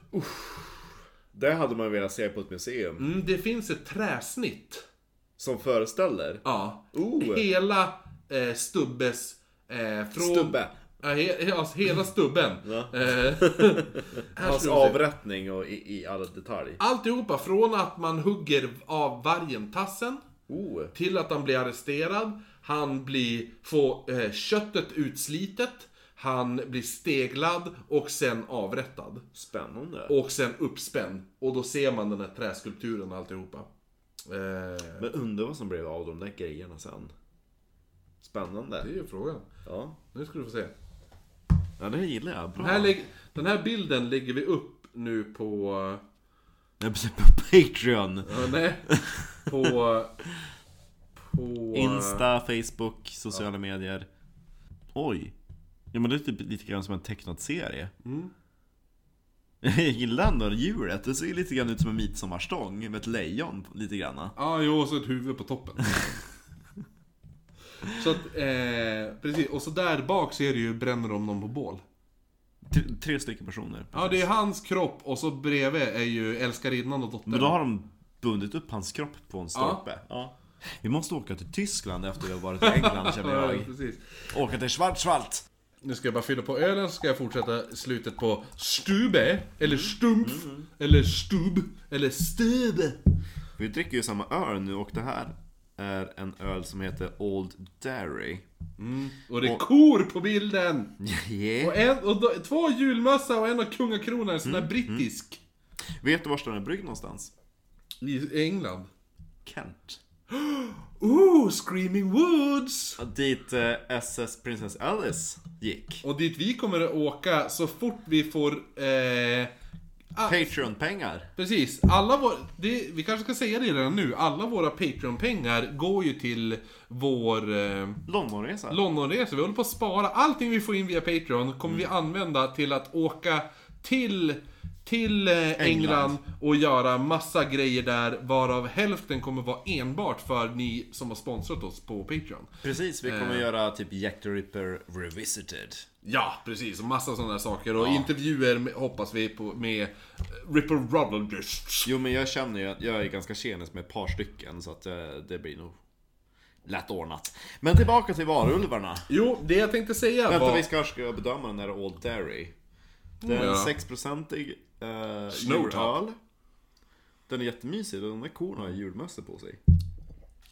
Speaker 1: Det hade man velat se på ett museum.
Speaker 2: Mm, det finns ett träsnitt.
Speaker 1: Som föreställer.
Speaker 2: Ja.
Speaker 1: Oh.
Speaker 2: Hela eh, Stubbes... Eh, från...
Speaker 1: Stubbe.
Speaker 2: Ja, he, ja, hela stubben.
Speaker 1: Ja.
Speaker 2: Eh, här
Speaker 1: Hans
Speaker 2: ska vi se.
Speaker 1: avrättning och i, i all detalj.
Speaker 2: Alltihopa från att man hugger av vargen tassen
Speaker 1: Oh.
Speaker 2: till att han blir arresterad. Han blir, får eh, köttet utslitet. Han blir steglad och sen avrättad.
Speaker 1: Spännande.
Speaker 2: Och sen uppspänd. Och då ser man den här träskulpturen och alltihopa. Eh,
Speaker 1: Men undrar vad som blev av de där grejerna sen.
Speaker 2: det
Speaker 1: Spännande.
Speaker 2: är ju frågan.
Speaker 1: Ja.
Speaker 2: Nu ska du få se.
Speaker 1: Ja det gillar jag. Bra.
Speaker 2: Den här, lägg- den här bilden lägger vi upp nu på...
Speaker 1: Jag blir på Patreon.
Speaker 2: ja, nej. På... På...
Speaker 1: Insta, Facebook, sociala medier. Oj. Ja men det är typ lite grann som en tecknad serie.
Speaker 2: Mm.
Speaker 1: Jag gillar ändå djuret. Det ser lite grann ut som en midsommarstång med ett lejon lite grann.
Speaker 2: Ja, jo, och så ett huvud på toppen. så att, eh, precis. Och så där bak ser du ju, bränner de någon på bål.
Speaker 1: Tre, tre stycken personer.
Speaker 2: Ja, det är hans kropp och så bredvid är ju älskarinnan och dottern.
Speaker 1: Men då har de bundit upp hans kropp på en stolpe. Ja. Vi måste åka till Tyskland efter vi har varit i England känner
Speaker 2: Ja,
Speaker 1: jag.
Speaker 2: precis.
Speaker 1: Åka till Schwarzwald.
Speaker 2: Nu ska jag bara fylla på ölen, så ska jag fortsätta slutet på stube, eller
Speaker 1: Mm.
Speaker 2: stumpf, eller stub, eller stube.
Speaker 1: Vi dricker ju samma öl nu och det här är en öl som heter Old Dairy.
Speaker 2: Och det är kor på bilden!
Speaker 1: Yeah.
Speaker 2: Och, en, och då, två julmössa och en av kungakronan, sån där
Speaker 1: Mm,
Speaker 2: brittisk.
Speaker 1: Vet du var den är bryggd någonstans?
Speaker 2: I England.
Speaker 1: Kent.
Speaker 2: Ooh, Screaming Woods!
Speaker 1: Dit eh, SS Princess Alice gick.
Speaker 2: Och dit vi kommer att åka så fort vi får... Eh, ah,
Speaker 1: Patreon-pengar.
Speaker 2: precis, alla våra... Det, vi kanske ska säga det redan nu, alla våra Patreon-pengar går ju till vår... Eh,
Speaker 1: Londonresa.
Speaker 2: Londonresor. Vi håller på att spara. Allting vi får in via Patreon kommer vi använda till att åka till, till eh, England. och göra massa grejer där, varav hälften kommer vara enbart för ni som har sponsrat oss på Patreon.
Speaker 1: Precis, vi kommer göra typ Jack the Ripper Revisited.
Speaker 2: Ja, precis. Och massa sådana där saker. Och intervjuer med, hoppas vi på, med eh, Ripperologists.
Speaker 1: Jo men jag känner ju att jag är ganska tjenis med ett par stycken så att eh, det blir nog lätt ordnat. Men tillbaka till varulvarna.
Speaker 2: Jo, det jag tänkte säga
Speaker 1: Vänta
Speaker 2: var...
Speaker 1: vi ska, ska bedöma den här Old Dairy. Det är
Speaker 2: Mm,
Speaker 1: en
Speaker 2: ja.
Speaker 1: 6-procentig eh,
Speaker 2: Snowtop.
Speaker 1: julöl. Den är jättemysig, de där korna har julmössor på sig.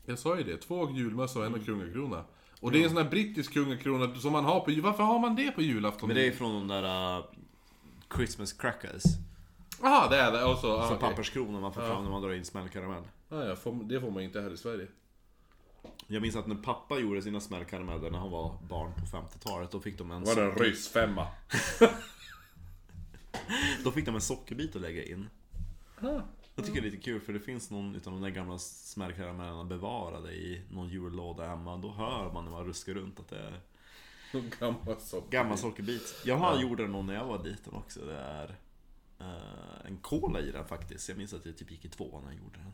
Speaker 2: Jag sa ju det, två julmössa och en kungakrona. Och det är en sån här brittisk kungakrona som man har på... Varför har man det på julafton?
Speaker 1: Men det är från de där eh, Christmas crackers.
Speaker 2: Jaha, det är det. Och så, ah,
Speaker 1: Som
Speaker 2: okej.
Speaker 1: papperskronor man får fram när man drar in smällkaramell.
Speaker 2: Ah, ja, får, det får man inte här i Sverige.
Speaker 1: Jag minns att när pappa gjorde sina smällkarameller när han var barn på 50-talet, då fick de en,
Speaker 2: Var det en ryssfemma?
Speaker 1: då fick de en sockerbit att lägga in.
Speaker 2: Ah.
Speaker 1: Jag tycker det är lite kul för det finns någon utav de där gamla smällkaramellerna bevarade i någon jullåda hemma. Då hör man när man ruskar runt att det är
Speaker 2: Någon gammal sock.
Speaker 1: gammal sockerbit. Jag har gjorde någon när jag var liten också. Det är eh, en kola i den faktiskt. Jag minns att jag typ gick i två när jag gjorde den.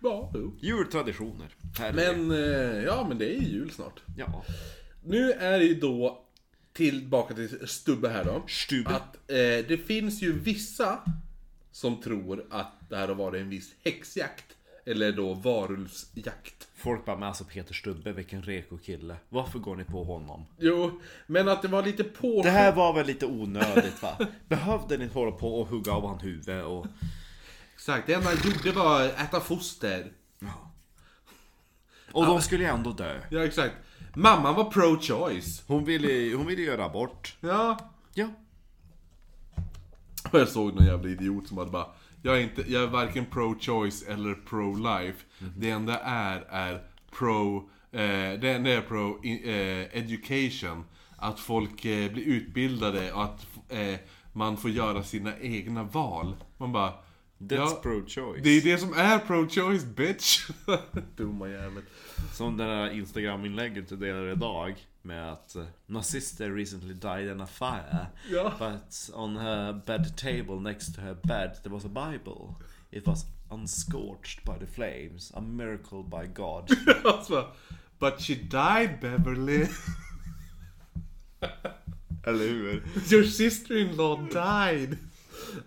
Speaker 2: Ja, jo.
Speaker 1: Jultraditioner. Här är det.
Speaker 2: Men, eh, ja men det är ju jul snart.
Speaker 1: Ja.
Speaker 2: Nu är det ju då, tillbaka till Stubbe här då.
Speaker 1: Stube.
Speaker 2: Att eh, det finns ju vissa som tror att det här har varit en viss häxjakt. Eller då varulvsjakt.
Speaker 1: Folk bara, men alltså Peter Stubbe, vilken reko kille. Varför går ni på honom?
Speaker 2: Jo, men att det var lite på...
Speaker 1: Det här var väl lite onödigt va? Behövde ni hålla på och hugga av hans huvud och...
Speaker 2: Exakt, det enda han gjorde var att äta foster.
Speaker 1: Och de skulle ju ändå dö.
Speaker 2: Ja, exakt. Mamman var pro-choice.
Speaker 1: Hon ville, hon ville göra abort.
Speaker 2: Ja,
Speaker 1: Ja.
Speaker 2: Och jag såg någon jävla idiot som hade bara Jag är, inte, jag är varken pro-choice eller pro-life Det enda är, är pro eh, Det enda är pro i- eh, education Att folk eh, blir utbildade och att eh, man får göra sina egna val Man bara
Speaker 1: That's
Speaker 2: ja,
Speaker 1: pro-choice.
Speaker 2: Det är det som är pro-choice bitch Dumma jävel
Speaker 1: Som det där Instagram-inlägget du delar idag med att eh, My sister recently died in a fire
Speaker 2: Ja.
Speaker 1: But on her bed table next to her bed there was a bible It was unscorched by the flames, a miracle by God
Speaker 2: Och så bara, But she died Beverly
Speaker 1: Eller hur?
Speaker 2: Your sister-in-law died.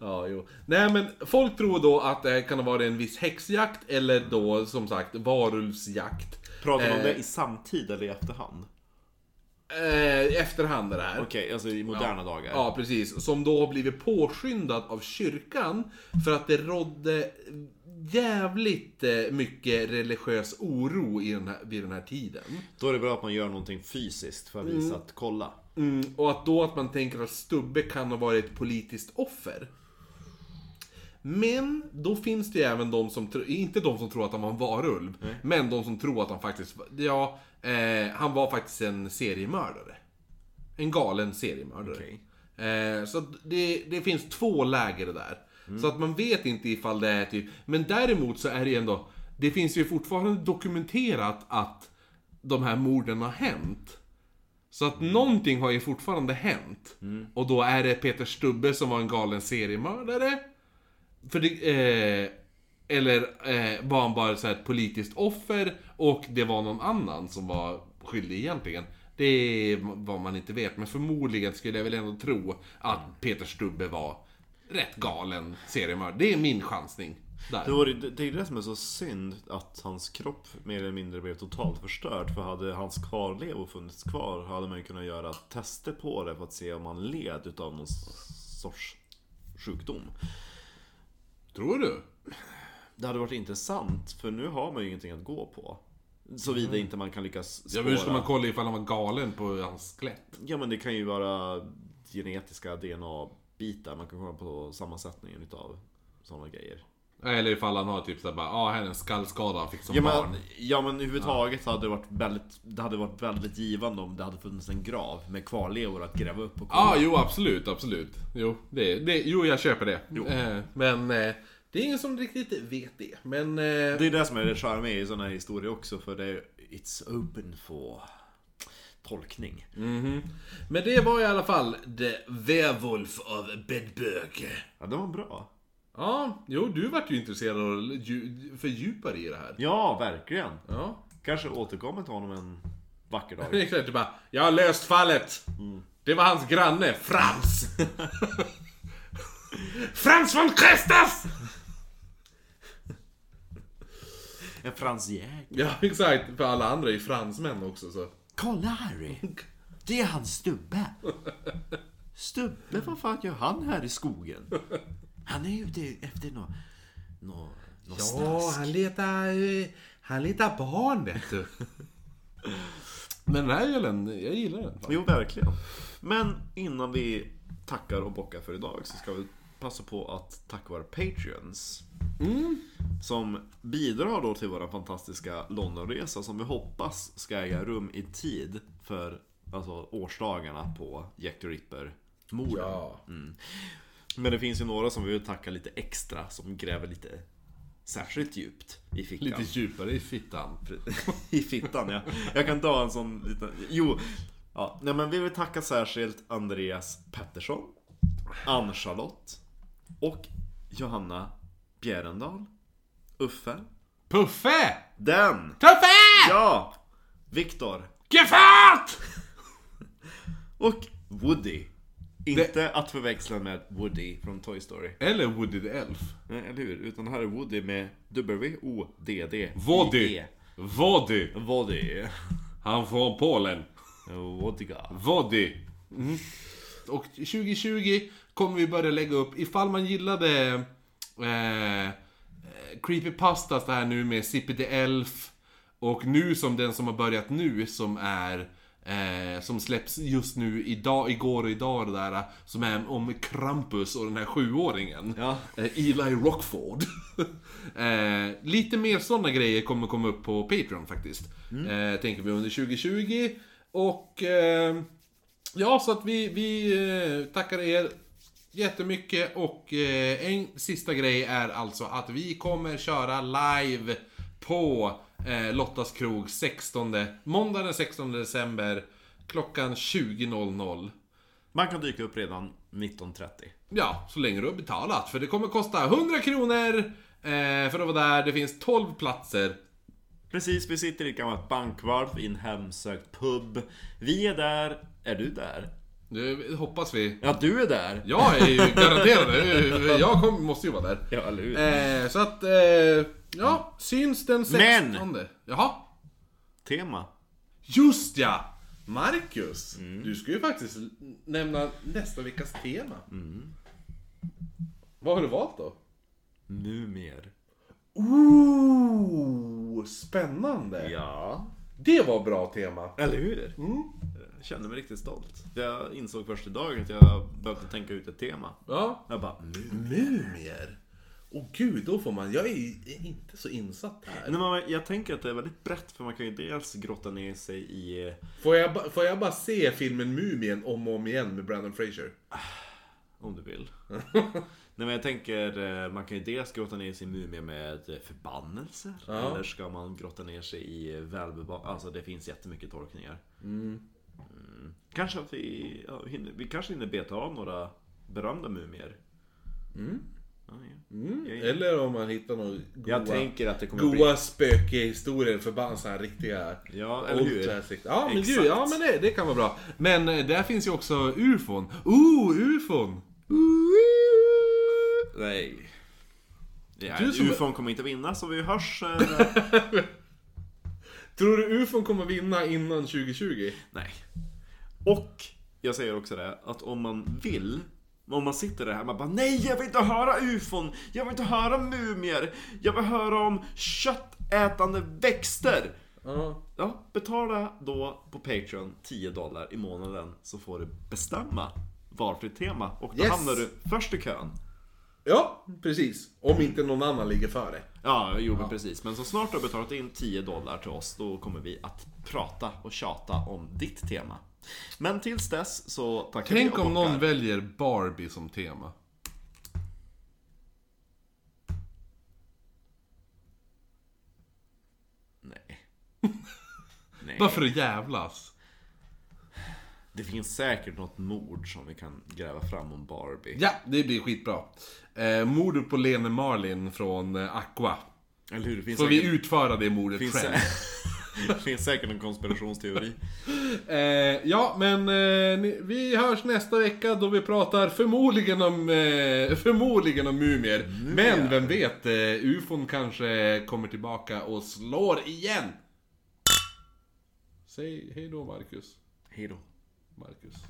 Speaker 2: Ja, jo. Nej, men folk tror då att det kan ha varit en viss häxjakt eller då som sagt varulvsjakt.
Speaker 1: Pratar man om
Speaker 2: Eh.
Speaker 1: det i samtid eller i efterhand?
Speaker 2: Eh, efterhand är det här.
Speaker 1: Okej, alltså i moderna dagar?
Speaker 2: Ja, precis. Som då har blivit påskyndad av kyrkan för att det rådde jävligt eh, mycket religiös oro i den här, vid den här tiden.
Speaker 1: Då är det bra att man gör någonting fysiskt för att visa att kolla
Speaker 2: Mm, och att då att man tänker att Stubbe kan ha varit ett politiskt offer. Men då finns det ju även de som, tr- inte de som tror att han var en varulv, men de som tror att han faktiskt, var- ja, eh, han var faktiskt en seriemördare. En galen seriemördare.
Speaker 1: Okej.
Speaker 2: Eh, så att det, det finns två läger där. Så att man vet inte ifall det är typ... Men däremot så är det ju ändå... Det finns ju fortfarande dokumenterat att de här morden har hänt. Så att någonting har ju fortfarande hänt. Och då är det Peter Stubbe som var en galen seriemördare. För det, eh, eller eh, var han bara så här ett politiskt offer och det var någon annan som var skyldig egentligen. Det är vad man inte vet, men förmodligen skulle jag väl ändå tro att Peter Stubbe var rätt galen seriemördare. Det är min chansning.
Speaker 1: Det,
Speaker 2: Där.
Speaker 1: var, det, det är det som är så synd att hans kropp mer eller mindre blev totalt förstörd. För hade hans kvarlevor funnits kvar hade man ju kunnat göra tester på det för att se om han led utav någon sorts sjukdom.
Speaker 2: Tror du?
Speaker 1: Det hade varit intressant för nu har man ju ingenting att gå på. Såvida inte man kan lyckas
Speaker 2: Ja,
Speaker 1: spåra.
Speaker 2: men hur ska man kolla ifall han var galen på hans skelett?
Speaker 1: Ja men det kan ju vara genetiska DNA-bitar. Man kan kolla på sammansättningen utav sådana grejer.
Speaker 2: Eller ifall han har typ såhär bara, ja ah, här är en skallskada han fick som
Speaker 1: Ja
Speaker 2: barn.
Speaker 1: men, ja men överhuvudtaget hade det varit väldigt, det hade varit väldigt givande om det hade funnits en grav med kvarlevor att gräva upp och
Speaker 2: Ja, ah, jo absolut, absolut. Jo, det, det, jo jag köper det. Eh, men eh, det är ingen som riktigt vet det. Men... Eh,
Speaker 1: Det är det som är det charmiga i sådana här historier också för det är It's open for tolkning.
Speaker 2: Mm. Men det var i alla fall The Werewolf av Bedböke.
Speaker 1: Ja det var bra.
Speaker 2: Ja, jo du vart ju intresserad och dju- fördjupade i det här.
Speaker 1: Ja, verkligen.
Speaker 2: Ja.
Speaker 1: Kanske återkommer till honom en vacker
Speaker 2: Det
Speaker 1: dag.
Speaker 2: är klart, du bara Jag har löst fallet! Det var hans granne, Frans! Frans von Krestas!
Speaker 1: En fransjäger.
Speaker 2: Ja, exakt. För alla andra är ju fransmän också så.
Speaker 1: Kolla Harry! Det är han Stubbe. Stubbe, vad fan gör han här i skogen? Han är ute efter något... Nå, nå
Speaker 2: Ja, han letar, eh, han letar barn vet du. Men den här ölen, jag gillar den.
Speaker 1: Jo, verkligen. Men innan vi tackar och bockar för idag så ska vi passa på att tacka våra patreons. Som bidrar då till vår fantastiska Londonresa som vi hoppas ska äga rum i tid för alltså, årsdagarna på Jack the Ripper-morden.
Speaker 2: Ja.
Speaker 1: Men det finns ju några som vi vill tacka lite extra som gräver lite särskilt djupt i fickan.
Speaker 2: Lite djupare i fittan.
Speaker 1: I fittan ja. Jag kan ta en sån liten... Jo. Ja, nej, men vi vill tacka särskilt Andreas Pettersson, Ann-Charlotte och Johanna Bjärendal. Uffe.
Speaker 2: Puffe!
Speaker 1: Den!
Speaker 2: Tuffe!
Speaker 1: Ja! Viktor.
Speaker 2: Gefärt!
Speaker 1: Och Woody. Inte att förväxla med Woody från Toy Story.
Speaker 2: Eller Woody the Elf.
Speaker 1: Nej, eller hur? Utan här är Woody med W-O-D-D.
Speaker 2: Woody. Woody.
Speaker 1: E. Woody.
Speaker 2: Han från Polen.
Speaker 1: Wodga.
Speaker 2: Vodi. Och 2020 kommer vi börja lägga upp, ifall man gillade eh, eh, Creepypastas det här nu med Zippy the Elf och nu som den som har börjat nu som är eh, som släpps just nu idag, igår och idag och det där som är om Krampus och den här sjuåringen.
Speaker 1: Ja.
Speaker 2: Eh, Eli Rockford. eh, lite mer sådana grejer kommer komma upp på Patreon faktiskt. Eh, tänker vi under 2020. Och eh, ja, så att vi, vi eh, tackar er jättemycket. Och eh, en sista grej är alltså att vi kommer köra live på eh, Lottas krog 16, måndag den 16 december klockan 20.00.
Speaker 1: Man kan dyka upp redan 19.30.
Speaker 2: Ja, så länge du har betalat. För det kommer kosta 100 kronor eh, för att vara där. Det finns 12 platser.
Speaker 1: Precis, vi sitter i ett gammalt bankvalv i en hemsökt pub. Vi är där. Är du där?
Speaker 2: Nu hoppas vi.
Speaker 1: Ja, du är där!
Speaker 2: Jag är ju garanterad. eh, Jag kom, måste ju vara där.
Speaker 1: Ja, eller hur?
Speaker 2: Eh, så att, eh, ja, syns den 16. Jaha.
Speaker 1: Tema.
Speaker 2: Just ja! Marcus, du ska ju faktiskt nämna nästa veckas tema. Vad har du valt då?
Speaker 1: Mumier.
Speaker 2: Ooh, spännande!
Speaker 1: Ja. Mm.
Speaker 2: Det var bra tema.
Speaker 1: Eller hur? Jag känner mig riktigt stolt. Jag insåg först idag att jag behövde tänka ut ett tema.
Speaker 2: Ja,
Speaker 1: Jag bara, "Mu-
Speaker 2: Mumier? Åh gud, då får man... Jag är ju inte så insatt här.
Speaker 1: Nej, men jag tänker att det är väldigt brett för man kan ju dels grotta ner sig i... eh,
Speaker 2: Får jag, ba- får jag bara se filmen Mumien om och om igen med Brandon Fraser?
Speaker 1: Om du vill. Nej men jag tänker, eh, man kan ju dels grotta ner sig i mumier med eh, förbannelser.
Speaker 2: Ja.
Speaker 1: Eller ska man grotta ner sig i eh, välbeva... Alltså det finns jättemycket tolkningar. Mm. Kanske att vi, ja, vi hinner, vi kanske hinner beta av några berömda mumier.
Speaker 2: Mm.
Speaker 1: Ja, ja. Jag-
Speaker 2: Eller om man hittar några Mm. Eh, goa,
Speaker 1: Jag tänker att det kommer bli...
Speaker 2: goa spökehistorier för bara sådana här riktiga...
Speaker 1: Ja, eller
Speaker 2: old
Speaker 1: hur?
Speaker 2: classic. Ja, men,
Speaker 1: Exakt.
Speaker 2: gud, ja, men det, det kan vara bra. Men eh, där finns ju också ufon. Ooh, ufon!
Speaker 1: Nej. Ja,
Speaker 2: Du som-
Speaker 1: UFOn kommer inte vinna så vi hörs. eh,
Speaker 2: Tror du ufon kommer vinna innan 2020?
Speaker 1: Nej. Och jag säger också det att om man vill om man sitter där hemma och bara nej jag vill inte höra ufon, jag vill inte höra mumier, jag vill höra om köttätande växter.
Speaker 2: Ja.
Speaker 1: Ja, betala då på Patreon 10 dollar i månaden så får du bestämma valfritt tema och då
Speaker 2: Yes.
Speaker 1: hamnar du först i kön.
Speaker 2: Ja, precis. Om inte någon annan ligger före.
Speaker 1: Ja, jo men precis. Men så snart du har betalat in 10 dollar till oss, då kommer vi att prata och tjata om ditt tema. Men tills dess så tackar vi
Speaker 2: Tänk
Speaker 1: och
Speaker 2: om någon
Speaker 1: bockar.
Speaker 2: väljer Barbie som tema.
Speaker 1: Nej. Nej.
Speaker 2: Bara för att jävlas.
Speaker 1: Det finns säkert något mord som vi kan gräva fram om Barbie.
Speaker 2: Ja, det blir skitbra. Eh, mordet på Lene Marlin från eh, Aqua.
Speaker 1: Eller hur? Det finns
Speaker 2: Får
Speaker 1: säkert,
Speaker 2: vi utföra det mordet
Speaker 1: finns,
Speaker 2: själv?
Speaker 1: sä- det finns säkert en konspirationsteori.
Speaker 2: Eh, ja, men eh, ni, vi hörs nästa vecka då vi pratar förmodligen om, eh, förmodligen om mumier. Men vem vet, eh, ufon kanske kommer tillbaka och slår igen. Säg hej då Marcus.
Speaker 1: Hej då.
Speaker 2: Marcus.